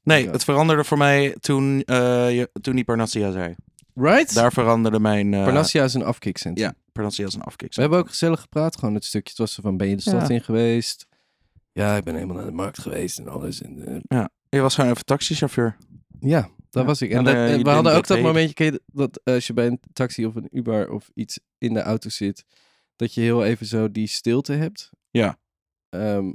[SPEAKER 3] nee,
[SPEAKER 1] Ja.
[SPEAKER 3] het veranderde voor mij toen, eh, je, toen die Parnassia zei.
[SPEAKER 1] Right?
[SPEAKER 3] Daar veranderde mijn... eh,
[SPEAKER 1] Parnassia is een afkikcentrum.
[SPEAKER 3] Ja, Parnassia is een afkick.
[SPEAKER 1] We hebben ook gezellig gepraat, gewoon het stukje. Het was zo van, ben je de stad in geweest? Ja, ik ben helemaal naar de markt geweest en alles. En, eh,
[SPEAKER 3] Je was gewoon even taxichauffeur.
[SPEAKER 1] ja, daar
[SPEAKER 3] Ja.
[SPEAKER 1] was ik. En,
[SPEAKER 3] En,
[SPEAKER 1] dat-
[SPEAKER 3] eh,
[SPEAKER 1] en
[SPEAKER 3] je
[SPEAKER 1] we hadden
[SPEAKER 3] denkt
[SPEAKER 1] ook
[SPEAKER 3] dat
[SPEAKER 1] dat
[SPEAKER 3] je-
[SPEAKER 1] momentje, ken je dat- dat eh, als je bij een taxi of een Uber of iets in de auto zit, dat je heel even zo die stilte hebt.
[SPEAKER 3] Ja.
[SPEAKER 1] Ehm,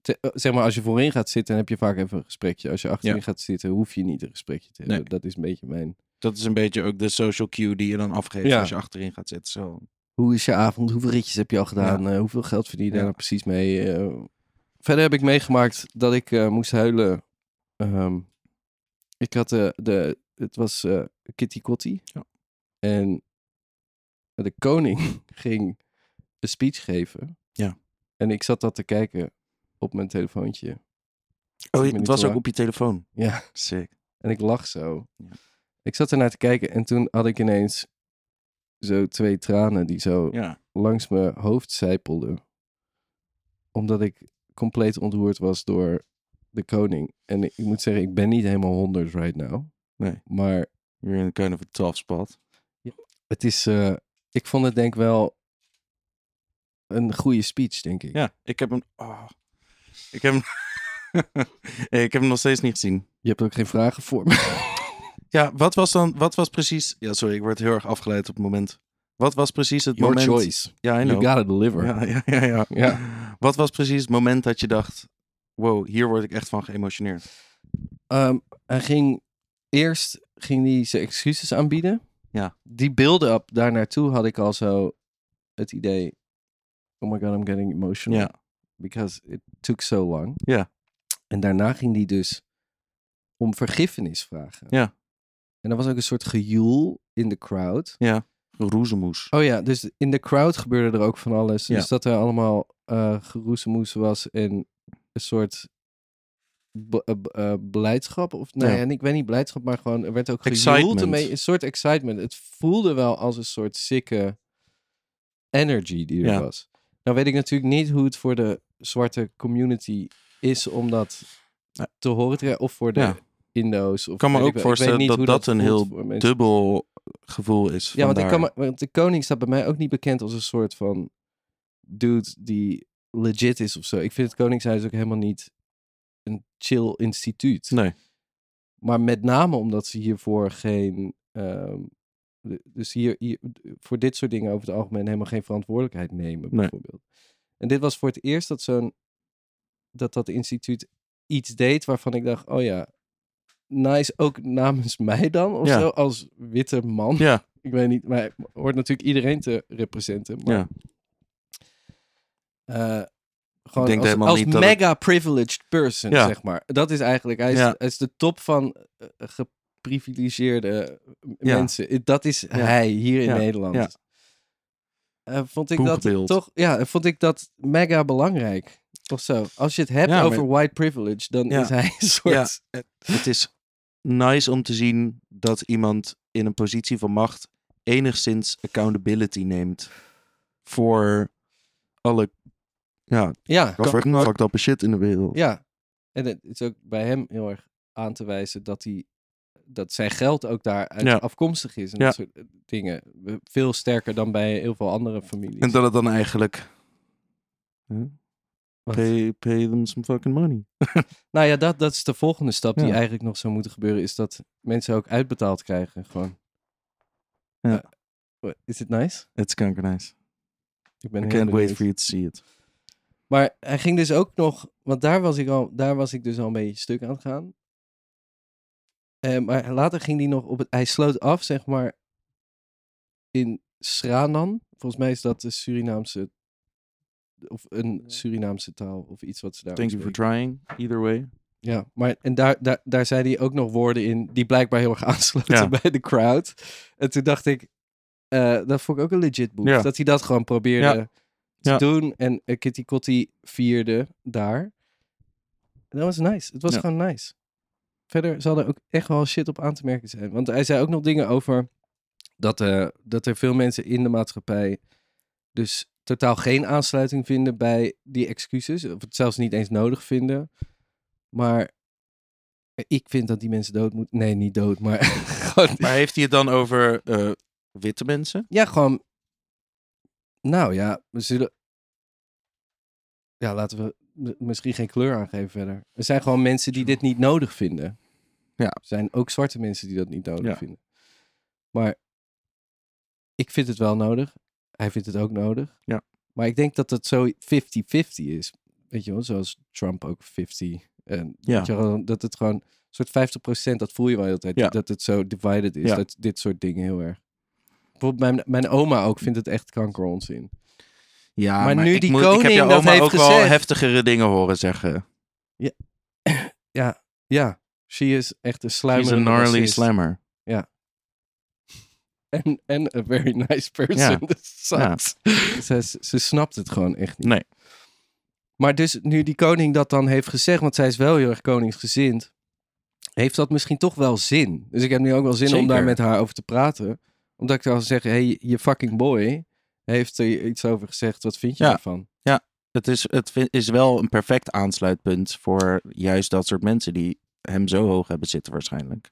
[SPEAKER 1] te- eh, zeg maar, als je voorin gaat zitten, dan heb je vaak even een gesprekje. Als je achterin
[SPEAKER 3] Ja.
[SPEAKER 1] gaat zitten, hoef je niet een gesprekje te hebben.
[SPEAKER 3] Nee.
[SPEAKER 1] Dat is een beetje mijn...
[SPEAKER 3] Dat is een beetje ook de social cue die je dan afgeeft
[SPEAKER 1] Ja.
[SPEAKER 3] als je achterin gaat zitten. Zo.
[SPEAKER 1] Hoe is je avond? Hoeveel ritjes heb je al gedaan? Eh, hoeveel geld verdien je daar
[SPEAKER 3] Ja.
[SPEAKER 1] nou precies mee? Eh, verder heb ik meegemaakt dat ik eh, moest huilen. Ehm, ik had de, de het was eh, Kitty Kotti.
[SPEAKER 3] Ja.
[SPEAKER 1] En de koning ging een speech geven.
[SPEAKER 3] Ja.
[SPEAKER 1] En ik zat dat te kijken op mijn telefoontje.
[SPEAKER 3] Oh, het
[SPEAKER 1] minuten
[SPEAKER 3] was ook
[SPEAKER 1] lang.
[SPEAKER 3] op je telefoon.
[SPEAKER 1] Ja.
[SPEAKER 3] Sick.
[SPEAKER 1] En ik lag zo.
[SPEAKER 3] Ja.
[SPEAKER 1] Ik zat ernaar te kijken en toen had ik ineens zo twee tranen die zo
[SPEAKER 3] Ja.
[SPEAKER 1] langs mijn hoofd zijpelde. Omdat ik compleet ontroerd was door de koning. En ik moet zeggen, ik ben niet helemaal honderd right now.
[SPEAKER 3] Nee.
[SPEAKER 1] Maar
[SPEAKER 3] You're in kind of a tough spot.
[SPEAKER 1] Het is, eh, ik vond het denk ik wel een goede speech, denk ik.
[SPEAKER 3] Ja, ik heb hem. oh. Ik heb hem. Nee, ik heb hem nog steeds niet gezien.
[SPEAKER 1] Je hebt ook geen vragen voor me.
[SPEAKER 3] Ja, wat was dan. Wat was precies. Ja, sorry, ik word heel erg afgeleid op het moment. Wat was precies het
[SPEAKER 1] Your
[SPEAKER 3] moment.
[SPEAKER 1] choice.
[SPEAKER 3] Ja, I
[SPEAKER 1] You
[SPEAKER 3] know.
[SPEAKER 1] gotta deliver.
[SPEAKER 3] Ja, ja, ja, ja. Wat was precies het moment dat je dacht: wow, hier word ik echt van geëmotioneerd?
[SPEAKER 1] Ehm, hij ging eerst ging hij zijn excuses aanbieden.
[SPEAKER 3] Ja.
[SPEAKER 1] Die build-up daar naartoe had ik al zo het idee. Oh my god, I'm getting emotional.
[SPEAKER 3] Ja.
[SPEAKER 1] Because it took so long.
[SPEAKER 3] Ja.
[SPEAKER 1] En daarna ging hij dus om vergiffenis vragen.
[SPEAKER 3] Ja.
[SPEAKER 1] En er was ook een soort gejoel in de crowd.
[SPEAKER 3] Roezemoes.
[SPEAKER 1] Oh ja, dus in de crowd gebeurde er ook van alles. Dus
[SPEAKER 3] Ja.
[SPEAKER 1] dat er allemaal eh geroezemoes was en een soort b- eh, b- eh, blijdschap. Of, nou
[SPEAKER 3] Ja.
[SPEAKER 1] ja. en ik weet niet blijdschap, maar gewoon er werd ook gejoeld.
[SPEAKER 3] Excitement.
[SPEAKER 1] Ermee, een soort excitement. Het voelde wel als een soort sikke energy die er
[SPEAKER 3] Ja.
[SPEAKER 1] was. Nou weet ik natuurlijk niet hoe het voor de zwarte community is om dat
[SPEAKER 3] Ja.
[SPEAKER 1] te horen. te krijgen, Of voor de
[SPEAKER 3] Ja.
[SPEAKER 1] Indo's. Of
[SPEAKER 3] kan me
[SPEAKER 1] weet
[SPEAKER 3] ook
[SPEAKER 1] ik wel. Ik weet
[SPEAKER 3] voorstellen
[SPEAKER 1] niet
[SPEAKER 3] dat
[SPEAKER 1] hoe
[SPEAKER 3] dat een
[SPEAKER 1] voelt
[SPEAKER 3] heel
[SPEAKER 1] voor mensen.
[SPEAKER 3] Dubbel gevoel is.
[SPEAKER 1] Ja, want, ik
[SPEAKER 3] vandaar.
[SPEAKER 1] kan, me- want de koning staat bij mij ook niet bekend als een soort van dude die legit is of zo. Ik vind het koningshuis ook helemaal niet een chill instituut.
[SPEAKER 3] Nee.
[SPEAKER 1] Maar met name omdat ze hiervoor geen... ehm, de- dus hier, hier- voor dit soort dingen over het algemeen helemaal geen verantwoordelijkheid nemen,
[SPEAKER 3] Nee.
[SPEAKER 1] bijvoorbeeld. En dit was voor het eerst dat zo'n... Dat dat instituut iets deed waarvan ik dacht, oh ja, nice ook namens mij dan of
[SPEAKER 3] Ja.
[SPEAKER 1] zo, als witte man
[SPEAKER 3] Ja,
[SPEAKER 1] ik weet niet, maar het hoort natuurlijk iedereen te representen. Maar,
[SPEAKER 3] ja.
[SPEAKER 1] eh, gewoon
[SPEAKER 3] denk
[SPEAKER 1] als,
[SPEAKER 3] helemaal
[SPEAKER 1] als
[SPEAKER 3] niet dat
[SPEAKER 1] mega privileged person,
[SPEAKER 3] Ja.
[SPEAKER 1] zeg maar. Dat is eigenlijk, hij is,
[SPEAKER 3] Ja.
[SPEAKER 1] hij is de top van eh, geprivilegeerde
[SPEAKER 3] Ja.
[SPEAKER 1] mensen. Eh, Dat is hij hier in
[SPEAKER 3] Ja.
[SPEAKER 1] Nederland.
[SPEAKER 3] Ja.
[SPEAKER 1] Eh, vond ik
[SPEAKER 3] Boegbeeld.
[SPEAKER 1] dat toch, ja, vond ik dat mega belangrijk. Of zo. Als je het hebt
[SPEAKER 3] Ja, maar-
[SPEAKER 1] over white privilege, dan
[SPEAKER 3] Ja.
[SPEAKER 1] is hij een soort.
[SPEAKER 3] Het is nice om te zien dat iemand in een positie van macht enigszins accountability neemt voor alle ja,
[SPEAKER 1] Ja, ja,
[SPEAKER 3] fucking fucked up shit in de wereld.
[SPEAKER 1] Ja, en het is ook bij hem heel erg aan te wijzen dat hij dat zijn geld ook daaruit
[SPEAKER 3] Ja.
[SPEAKER 1] afkomstig is en
[SPEAKER 3] Ja.
[SPEAKER 1] dat soort eh, dingen. Veel sterker dan bij heel veel andere families.
[SPEAKER 3] En dat het dan eigenlijk
[SPEAKER 1] Wat?
[SPEAKER 3] pay, pay them some fucking money.
[SPEAKER 1] Nou ja, dat, dat is de volgende stap die
[SPEAKER 3] Ja.
[SPEAKER 1] eigenlijk nog zou moeten gebeuren, is dat mensen ook uitbetaald krijgen. Gewoon.
[SPEAKER 3] Ja.
[SPEAKER 1] Eh, is het nice?
[SPEAKER 3] It's kanker nice.
[SPEAKER 1] Ik ben
[SPEAKER 3] I
[SPEAKER 1] heel
[SPEAKER 3] can't
[SPEAKER 1] benieuwd.
[SPEAKER 3] wait for you to see it.
[SPEAKER 1] Maar hij ging dus ook nog, want daar was ik, al, daar was ik dus al een beetje stuk aan het gaan. Eh, maar later ging hij nog op het, hij sloot af, zeg maar, in Sranan. Volgens mij is dat de Surinaamse, of een Surinaamse taal of iets wat ze daar
[SPEAKER 3] Thank you for
[SPEAKER 1] spreken.
[SPEAKER 3] trying, either way.
[SPEAKER 1] Ja, maar en daar, daar, daar zei hij ook nog woorden in die blijkbaar heel erg aansloten
[SPEAKER 3] Ja.
[SPEAKER 1] bij de crowd. En toen dacht ik, eh, dat vond ik ook een legit boek.
[SPEAKER 3] Ja.
[SPEAKER 1] Dat hij dat gewoon probeerde
[SPEAKER 3] Ja.
[SPEAKER 1] te
[SPEAKER 3] Ja.
[SPEAKER 1] doen. En eh, Kitty Kotti vierde daar. Dat was nice. Het was
[SPEAKER 3] Ja.
[SPEAKER 1] gewoon nice. Verder zal er ook echt wel shit op aan te merken zijn. Want hij zei ook nog dingen over dat, eh, dat er veel mensen in de maatschappij dus totaal geen aansluiting vinden bij die excuses. Of het zelfs niet eens nodig vinden. Maar ik vind dat die mensen dood moeten. Nee, niet dood, maar gewoon...
[SPEAKER 3] Maar heeft hij het dan over eh, witte mensen?
[SPEAKER 1] Ja, gewoon... Nou ja, we zullen... Ja, laten we m- misschien geen kleur aangeven verder. Er zijn gewoon mensen die dit niet nodig vinden.
[SPEAKER 3] Ja.
[SPEAKER 1] Er zijn ook zwarte mensen die dat niet nodig
[SPEAKER 3] Ja.
[SPEAKER 1] vinden. Maar ik vind het wel nodig. Hij vindt het ook nodig.
[SPEAKER 3] Ja.
[SPEAKER 1] Maar ik denk dat dat zo 50-50 is. Weet je wel, zoals Trump ook 50. En
[SPEAKER 3] Ja.
[SPEAKER 1] Weet je wel, dat het gewoon een soort 50%, dat voel je wel de hele tijd.
[SPEAKER 3] Ja.
[SPEAKER 1] Dat het zo divided is.
[SPEAKER 3] Ja.
[SPEAKER 1] Dat dit soort dingen heel erg. Bijvoorbeeld mijn, mijn oma ook vindt het echt kankeronzin.
[SPEAKER 3] Ja,
[SPEAKER 1] Maar nu
[SPEAKER 3] ik
[SPEAKER 1] die
[SPEAKER 3] moet, ik heb
[SPEAKER 1] koning
[SPEAKER 3] jou
[SPEAKER 1] dat
[SPEAKER 3] oma
[SPEAKER 1] heeft
[SPEAKER 3] ook wel
[SPEAKER 1] gezegd.
[SPEAKER 3] heftigere dingen horen zeggen.
[SPEAKER 1] Ja, she is echt een
[SPEAKER 3] He's
[SPEAKER 1] sluimerende
[SPEAKER 3] a gnarly
[SPEAKER 1] racist.
[SPEAKER 3] slammer.
[SPEAKER 1] En, en a very nice person.
[SPEAKER 3] Ja.
[SPEAKER 1] Dus zo-
[SPEAKER 3] Ja.
[SPEAKER 1] ze, ze snapt het gewoon echt niet.
[SPEAKER 3] Nee.
[SPEAKER 1] Maar dus nu die koning dat dan heeft gezegd, want zij is wel heel erg koningsgezind, heeft dat misschien toch wel zin. Dus ik heb nu ook wel zin om
[SPEAKER 3] Zeker.
[SPEAKER 1] daar met haar over te praten. Omdat ik dan zeg, hey, je fucking boy heeft er iets over gezegd. Wat vind je
[SPEAKER 3] Ja.
[SPEAKER 1] daarvan?
[SPEAKER 3] Het is, het vi- is wel een perfect aansluitpunt voor juist dat soort mensen die hem zo hoog hebben zitten waarschijnlijk.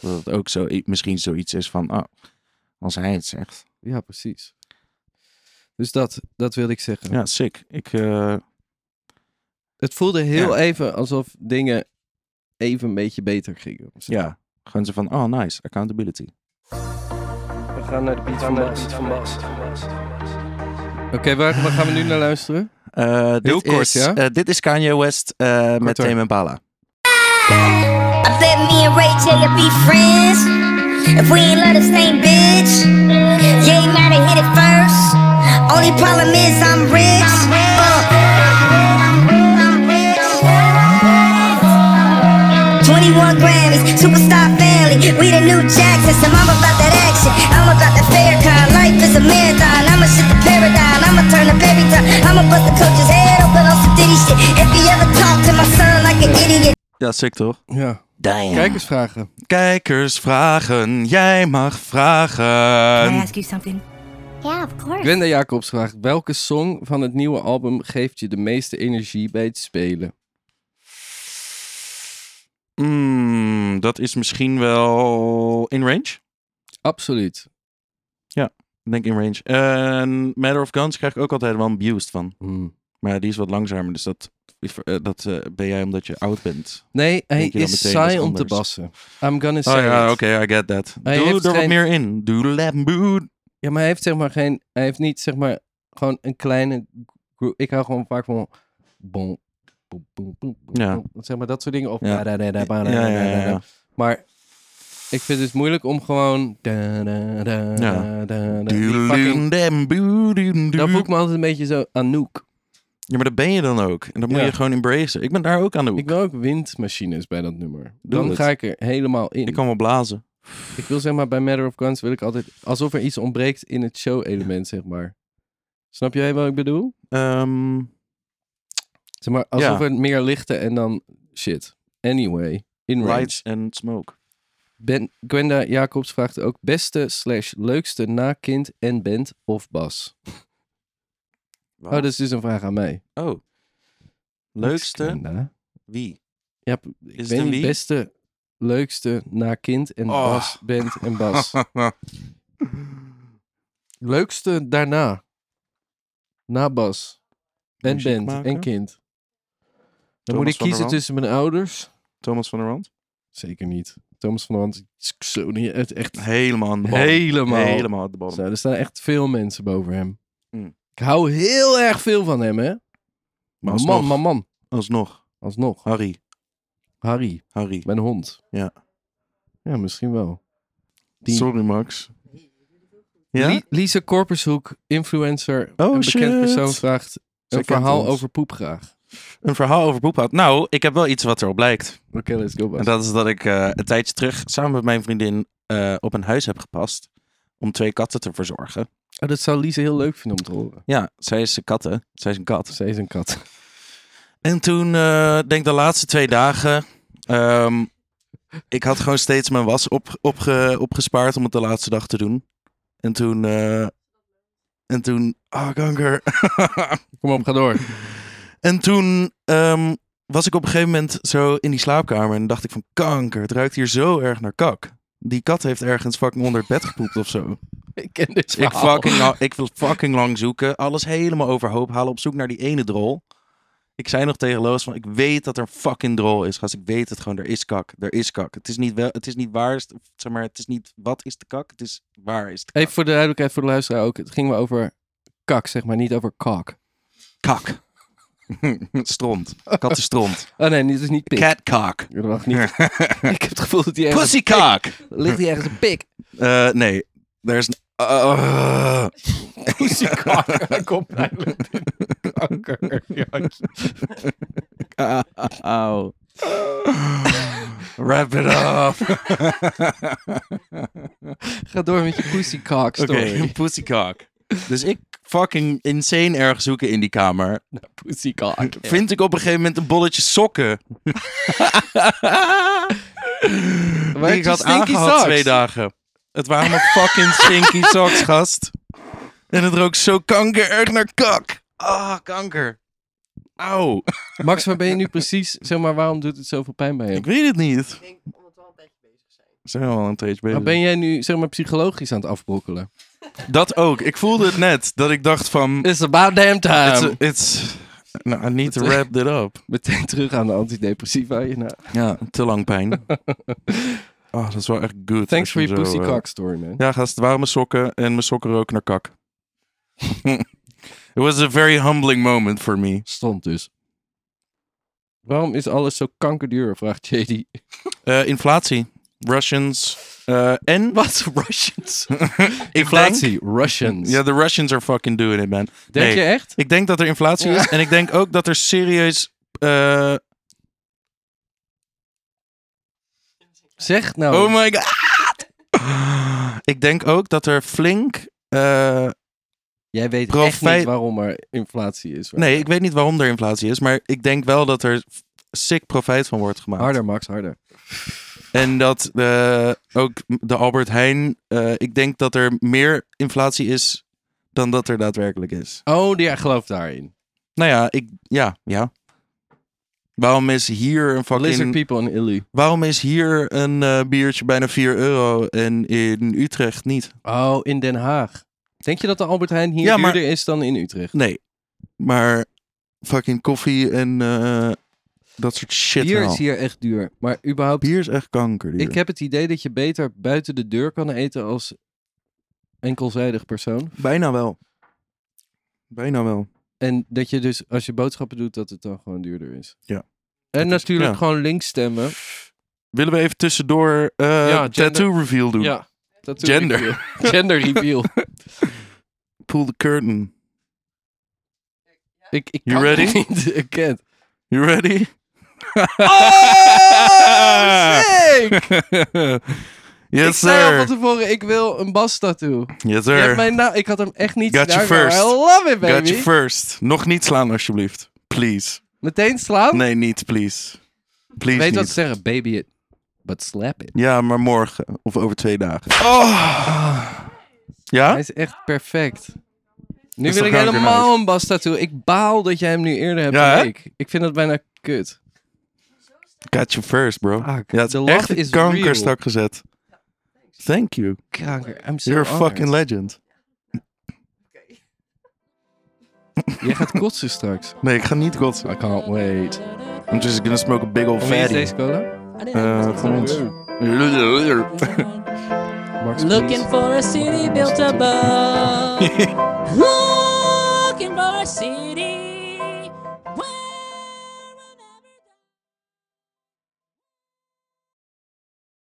[SPEAKER 3] Dat het ook zo, i- misschien zoiets is van, ah, Als hij het zegt.
[SPEAKER 1] Ja, precies. Dus dat, dat wilde ik zeggen.
[SPEAKER 3] Ja, sick. Ik, eh,
[SPEAKER 1] Het voelde heel
[SPEAKER 3] Ja.
[SPEAKER 1] even alsof dingen even een beetje beter gingen. of zo.
[SPEAKER 3] ja, gewoon ze van, oh nice, accountability.
[SPEAKER 2] We gaan naar de beat van Bas. Van Bas.
[SPEAKER 1] Oké, waar, waar gaan we nu naar luisteren?
[SPEAKER 3] Eh, dit
[SPEAKER 1] Heel kort,
[SPEAKER 3] is,
[SPEAKER 1] ja?
[SPEAKER 3] eh, dit is Kanye West eh, met
[SPEAKER 1] Korter.
[SPEAKER 3] Tame Impala.
[SPEAKER 4] I bet me and Ray J will be friends. If we ain't love the same bitch, you ain't gotta hit it first. Only problem is I'm rich. Uh. 21 Grammys, superstar family. We the new Jacksons, and I'm about that action. I'm about that fair kind. Life is a marathon. I'ma shit the paradigm. I'ma turn up every time. I'ma bust the coach's head open on some ditty shit. If he ever talk to my son like an idiot.
[SPEAKER 3] Ja, sick toch?
[SPEAKER 1] Ja.
[SPEAKER 3] Damn.
[SPEAKER 1] Kijkersvragen.
[SPEAKER 3] Kijkersvragen, jij mag vragen.
[SPEAKER 4] you something? Yeah, of course.
[SPEAKER 1] Gwenda Jacobs vraagt, welke song van het nieuwe album geeft je de meeste energie bij het spelen?
[SPEAKER 3] Mm, dat is misschien wel In Range.
[SPEAKER 1] Absoluut.
[SPEAKER 3] Ik denk In Range. En Matter of Guns krijg ik ook altijd wel een Abused van.
[SPEAKER 1] Hmm.
[SPEAKER 3] Maar die is wat langzamer, dus dat, eh, dat eh, ben jij omdat je oud bent.
[SPEAKER 1] Nee, hij
[SPEAKER 3] Denk je dan
[SPEAKER 1] is
[SPEAKER 3] meteen wat
[SPEAKER 1] saai om te
[SPEAKER 3] anders?
[SPEAKER 1] bassen. I'm gonna
[SPEAKER 3] Oh
[SPEAKER 1] say
[SPEAKER 3] ja,
[SPEAKER 1] it.
[SPEAKER 3] oké, I get that.
[SPEAKER 1] Hij
[SPEAKER 3] Doe
[SPEAKER 1] heeft
[SPEAKER 3] er wat
[SPEAKER 1] geen-
[SPEAKER 3] meer in. Doe de
[SPEAKER 1] Ja, maar hij heeft zeg maar geen... Hij heeft niet zeg maar gewoon een kleine... gro- Ik hou gewoon vaak van... Bon, boem, boem, boem, boem,
[SPEAKER 3] Ja.
[SPEAKER 1] boem. Zeg maar dat soort dingen. Of...
[SPEAKER 3] Ja. Ja, ja, ja, ja.
[SPEAKER 1] Maar ik vind het moeilijk om gewoon... Da, da, da, da,
[SPEAKER 3] Ja.
[SPEAKER 1] da, die fucking- Dan voel ik
[SPEAKER 3] fucking...
[SPEAKER 1] me altijd een beetje zo Anouk.
[SPEAKER 3] Ja, maar dat ben je dan ook. En dat moet
[SPEAKER 1] Ja.
[SPEAKER 3] je gewoon embracen. Ik ben daar ook aan de hoek.
[SPEAKER 1] Ik
[SPEAKER 3] Ik,
[SPEAKER 1] wil ook windmachines bij dat nummer.
[SPEAKER 3] Doe
[SPEAKER 1] Dan
[SPEAKER 3] het.
[SPEAKER 1] ga ik er helemaal in. Ik,
[SPEAKER 3] kan wel blazen.
[SPEAKER 1] wil zeg maar bij Matter of Guns wil ik altijd... Alsof er iets ontbreekt in het show-element, zeg maar. Snap jij wat ik bedoel?
[SPEAKER 3] Ehm,
[SPEAKER 1] Zeg maar, alsof
[SPEAKER 3] Ja.
[SPEAKER 1] er meer lichten en dan shit. Anyway, in range.
[SPEAKER 3] lights and smoke.
[SPEAKER 1] Ben, Gwenda Jacobs vraagt ook beste slash leukste na kind en band of bas. Oh, dat is dus een vraag aan mij.
[SPEAKER 3] Oh. Leukste?
[SPEAKER 1] Gwenda.
[SPEAKER 3] Wie?
[SPEAKER 1] Ja, p- ik
[SPEAKER 3] het
[SPEAKER 1] ben
[SPEAKER 3] een
[SPEAKER 1] niet
[SPEAKER 3] wie?
[SPEAKER 1] beste leukste na kind en
[SPEAKER 3] Oh.
[SPEAKER 1] bas, band en bas. leukste daarna. Na bas. En
[SPEAKER 3] Muziek
[SPEAKER 1] band
[SPEAKER 3] maken?
[SPEAKER 1] en kind. Dan
[SPEAKER 3] Thomas
[SPEAKER 1] moet ik
[SPEAKER 3] van der
[SPEAKER 1] kiezen
[SPEAKER 3] Wal?
[SPEAKER 1] tussen mijn ouders.
[SPEAKER 3] Thomas van der Rand?
[SPEAKER 1] Zeker niet. Thomas van der Hand is zo niet het echt
[SPEAKER 3] Helemaal aan de bal.
[SPEAKER 1] Helemaal.
[SPEAKER 3] Helemaal aan de bal.
[SPEAKER 1] Zo, er staan echt veel mensen boven hem.
[SPEAKER 3] Mm.
[SPEAKER 1] Ik hou heel erg veel van hem, hè? Maar
[SPEAKER 3] alsnog.
[SPEAKER 1] man, man, man.
[SPEAKER 3] Alsnog.
[SPEAKER 1] Alsnog.
[SPEAKER 3] Harry.
[SPEAKER 1] Harry,
[SPEAKER 3] Harry.
[SPEAKER 1] mijn hond.
[SPEAKER 3] Ja.
[SPEAKER 1] Ja, misschien wel. Die-
[SPEAKER 3] Sorry, Max. Ja?
[SPEAKER 1] Li- Lisa Korpershoek, influencer, een
[SPEAKER 3] Oh,
[SPEAKER 1] bekend
[SPEAKER 3] shit.
[SPEAKER 1] persoon, vraagt
[SPEAKER 3] Zij
[SPEAKER 1] een
[SPEAKER 3] kent
[SPEAKER 1] verhaal
[SPEAKER 3] ons.
[SPEAKER 1] over poep graag.
[SPEAKER 3] Een verhaal over poep had. Nou, ik heb wel iets wat erop lijkt.
[SPEAKER 1] Oké, let's go, Bas.
[SPEAKER 3] En dat is dat ik eh, een tijdje terug samen met mijn vriendin eh, op een huis heb gepast. Om twee katten te verzorgen.
[SPEAKER 1] Oh, dat zou Lisa heel leuk vinden om te horen.
[SPEAKER 3] Ja, zij is een katten. Zij is een kat.
[SPEAKER 1] Ze is een kat.
[SPEAKER 3] En toen, eh denk de laatste twee dagen. ehm, ik had gewoon steeds mijn was op, opge, opgespaard om het de laatste dag te doen. En toen. eh, en toen. Ah, kanker.
[SPEAKER 1] Kom op, ga door.
[SPEAKER 3] en toen ehm, was ik op een gegeven moment zo in die slaapkamer. En dacht ik van: kanker, het ruikt hier zo erg naar kak. Die kat heeft ergens fucking onder het bed gepoept of zo.
[SPEAKER 1] ik ken dit
[SPEAKER 3] Dus ik,
[SPEAKER 1] verhaal.
[SPEAKER 3] fucking, la- ik wil fucking lang zoeken. Alles helemaal overhoop halen. Op zoek naar die ene drol. Ik zei nog tegen Loos van, ik weet dat er een fucking drol is, gast. Ik weet het gewoon, er is kak. Er is kak. Het is niet, wel, het is niet waar, is- zeg maar, het is niet wat is de kak. Het is waar is de kak.
[SPEAKER 1] Even voor de duidelijkheid voor de luisteraar ook. Het ging wel over kak, zeg maar, niet over kak.
[SPEAKER 3] Kak. stront. Kattenstront.
[SPEAKER 1] Oh nee, dit is niet pik.
[SPEAKER 3] Catkak.
[SPEAKER 1] Ik dacht niet. ik heb het gevoel dat hij ergens,
[SPEAKER 3] Pussykak.
[SPEAKER 1] ligt hij ergens een pik.
[SPEAKER 3] Eh, nee, er is... een- Ah.
[SPEAKER 1] Poesiekanker. Hij komt eigenlijk met kanker.
[SPEAKER 3] Auw. Wrap it up.
[SPEAKER 1] Ga door met je poesiekak
[SPEAKER 3] Oké,
[SPEAKER 1] story.
[SPEAKER 3] een pussycock. Dus ik fucking insane erg zoeken in die kamer.
[SPEAKER 1] Poesiekak.
[SPEAKER 3] Vind ik op een gegeven moment een bolletje sokken. die ik
[SPEAKER 1] je
[SPEAKER 3] had
[SPEAKER 1] stinky
[SPEAKER 3] aangehad
[SPEAKER 1] socks?
[SPEAKER 3] twee dagen. Het waren mijn fucking stinky socks, gast. En het rook zo kanker erg naar kak. Ah, kanker. Auw.
[SPEAKER 1] Max, waar ben je nu precies? Zeg maar, waarom doet het zoveel pijn bij
[SPEAKER 3] Ik
[SPEAKER 1] hem?
[SPEAKER 3] weet het niet.
[SPEAKER 2] Ik denk omdat we al een tijdje bezig zijn.
[SPEAKER 3] Zijn we al een tijdje bezig.
[SPEAKER 1] Maar ben jij nu zeg maar psychologisch aan het afbrokkelen?
[SPEAKER 3] Dat ook. Ik voelde het net. Dat ik dacht van...
[SPEAKER 1] It's about damn
[SPEAKER 3] It's,
[SPEAKER 1] time.
[SPEAKER 3] it's, no, nou, I need to wrap it up.
[SPEAKER 1] Meteen terug aan de antidepressiva. hierna.
[SPEAKER 3] Ja, te lang pijn. Oh, dat is wel echt good.
[SPEAKER 1] Thanks
[SPEAKER 3] als
[SPEAKER 1] for your
[SPEAKER 3] zo,
[SPEAKER 1] pussy
[SPEAKER 3] eh,
[SPEAKER 1] cock story, man.
[SPEAKER 3] Ja, gast, het waren mijn sokken en mijn sokken roken naar kak. It was a very humbling moment for me.
[SPEAKER 1] Stond dus. Waarom is alles zo kankerduur? Vraagt JD.
[SPEAKER 3] Eh, inflatie. Russians. eh, en...
[SPEAKER 1] Wat? Russians?
[SPEAKER 3] Ik
[SPEAKER 1] Inflatie.
[SPEAKER 3] denk-
[SPEAKER 1] Russians.
[SPEAKER 3] Ja, de Russians are fucking doing it, man.
[SPEAKER 1] Denk
[SPEAKER 3] nee.
[SPEAKER 1] je echt?
[SPEAKER 3] Ik denk dat er inflatie is. En ik denk ook dat er serieus... eh,
[SPEAKER 1] Zeg nou.
[SPEAKER 3] Oh my god. Ik denk ook dat er flink. eh,
[SPEAKER 1] Jij weet echt
[SPEAKER 3] Profijt-
[SPEAKER 1] niet waarom er inflatie is.
[SPEAKER 3] nee, ik weet niet waarom er inflatie is, maar ik denk wel dat er f- sick profijt van wordt gemaakt.
[SPEAKER 1] Harder, Max, harder.
[SPEAKER 3] En dat eh, ook de Albert Heijn. eh, ik denk dat er meer inflatie is dan dat er daadwerkelijk is.
[SPEAKER 1] Oh, ja, geloof daarin.
[SPEAKER 3] Nou ja, ik, ja, ja. Waarom is hier een
[SPEAKER 1] Lizard
[SPEAKER 3] fucking.
[SPEAKER 1] people in Illy.
[SPEAKER 3] Waarom is hier een eh, biertje bijna 4 euro en in Utrecht niet?
[SPEAKER 1] Oh, in Den Haag. Denk je dat de Albert Heijn hier
[SPEAKER 3] Ja, maar-
[SPEAKER 1] duurder is dan in Utrecht?
[SPEAKER 3] Nee. Maar fucking koffie en eh, dat soort shit.
[SPEAKER 1] Bier
[SPEAKER 3] wel.
[SPEAKER 1] is hier echt duur. Maar überhaupt,
[SPEAKER 3] Bier is echt kanker. duur.
[SPEAKER 1] ik heb het idee dat je beter buiten de deur kan eten als enkelzijdig persoon.
[SPEAKER 3] Bijna wel. Bijna wel.
[SPEAKER 1] En dat je dus, als je boodschappen doet, dat het dan gewoon duurder is.
[SPEAKER 3] Ja.
[SPEAKER 1] En
[SPEAKER 3] Dat is-
[SPEAKER 1] natuurlijk
[SPEAKER 3] ja.
[SPEAKER 1] gewoon links stemmen.
[SPEAKER 3] Willen we even tussendoor eh
[SPEAKER 1] Ja, gender-
[SPEAKER 3] tattoo reveal doen?
[SPEAKER 1] Ja. Dat doe ik
[SPEAKER 3] Gender.
[SPEAKER 1] weer. Gender reveal.
[SPEAKER 3] Pull the curtain.
[SPEAKER 1] ik, ik
[SPEAKER 3] You
[SPEAKER 1] kan
[SPEAKER 3] ready?
[SPEAKER 1] het niet. Ik ken het.
[SPEAKER 3] You ready?
[SPEAKER 1] Oh,
[SPEAKER 3] Ah!
[SPEAKER 1] sick!
[SPEAKER 3] yes,
[SPEAKER 1] ik zei al
[SPEAKER 3] sir.
[SPEAKER 1] van tevoren, ik wil een bas tattoo.
[SPEAKER 3] Yes,
[SPEAKER 1] Je
[SPEAKER 3] sir.
[SPEAKER 1] hebt mijn naam- ik had hem echt niet
[SPEAKER 3] Got you
[SPEAKER 1] gedaan, maar
[SPEAKER 3] first.
[SPEAKER 1] I love it, baby.
[SPEAKER 3] Got you first. Nog niet slaan, alsjeblieft. Please.
[SPEAKER 1] Meteen slaan?
[SPEAKER 3] Nee, niet, please. Please
[SPEAKER 1] Weet wat
[SPEAKER 3] niet.
[SPEAKER 1] ze zeggen, baby it, but slap it.
[SPEAKER 3] Ja, maar morgen. Of over twee dagen. Oh. Ja?
[SPEAKER 1] Hij is echt perfect. Nu wil
[SPEAKER 3] Is toch
[SPEAKER 1] ik
[SPEAKER 3] kanker
[SPEAKER 1] helemaal
[SPEAKER 3] nice?
[SPEAKER 1] een bas tattoo. Ik baal dat jij hem nu eerder hebt
[SPEAKER 3] Ja,
[SPEAKER 1] dan
[SPEAKER 3] hè?
[SPEAKER 1] ik. Ik vind dat bijna kut.
[SPEAKER 3] Got you first, bro.
[SPEAKER 1] Fuck,
[SPEAKER 3] ja, het
[SPEAKER 1] the
[SPEAKER 3] is
[SPEAKER 1] love
[SPEAKER 3] echt
[SPEAKER 1] is
[SPEAKER 3] een
[SPEAKER 1] real.
[SPEAKER 3] kankerstak gezet. Thank you.
[SPEAKER 1] Kanker, I'm so
[SPEAKER 3] You're a
[SPEAKER 1] honored.
[SPEAKER 3] fucking legend.
[SPEAKER 1] Jij gaat kotsen straks.
[SPEAKER 3] Nee, ik ga niet kotsen.
[SPEAKER 1] I can't wait.
[SPEAKER 3] I'm just gonna smoke a big old
[SPEAKER 1] Hoe is
[SPEAKER 3] fatty.
[SPEAKER 1] deze cola?
[SPEAKER 3] Eh, van ons.
[SPEAKER 1] Max,
[SPEAKER 7] Looking
[SPEAKER 1] please.
[SPEAKER 7] for a city built above. Looking for a city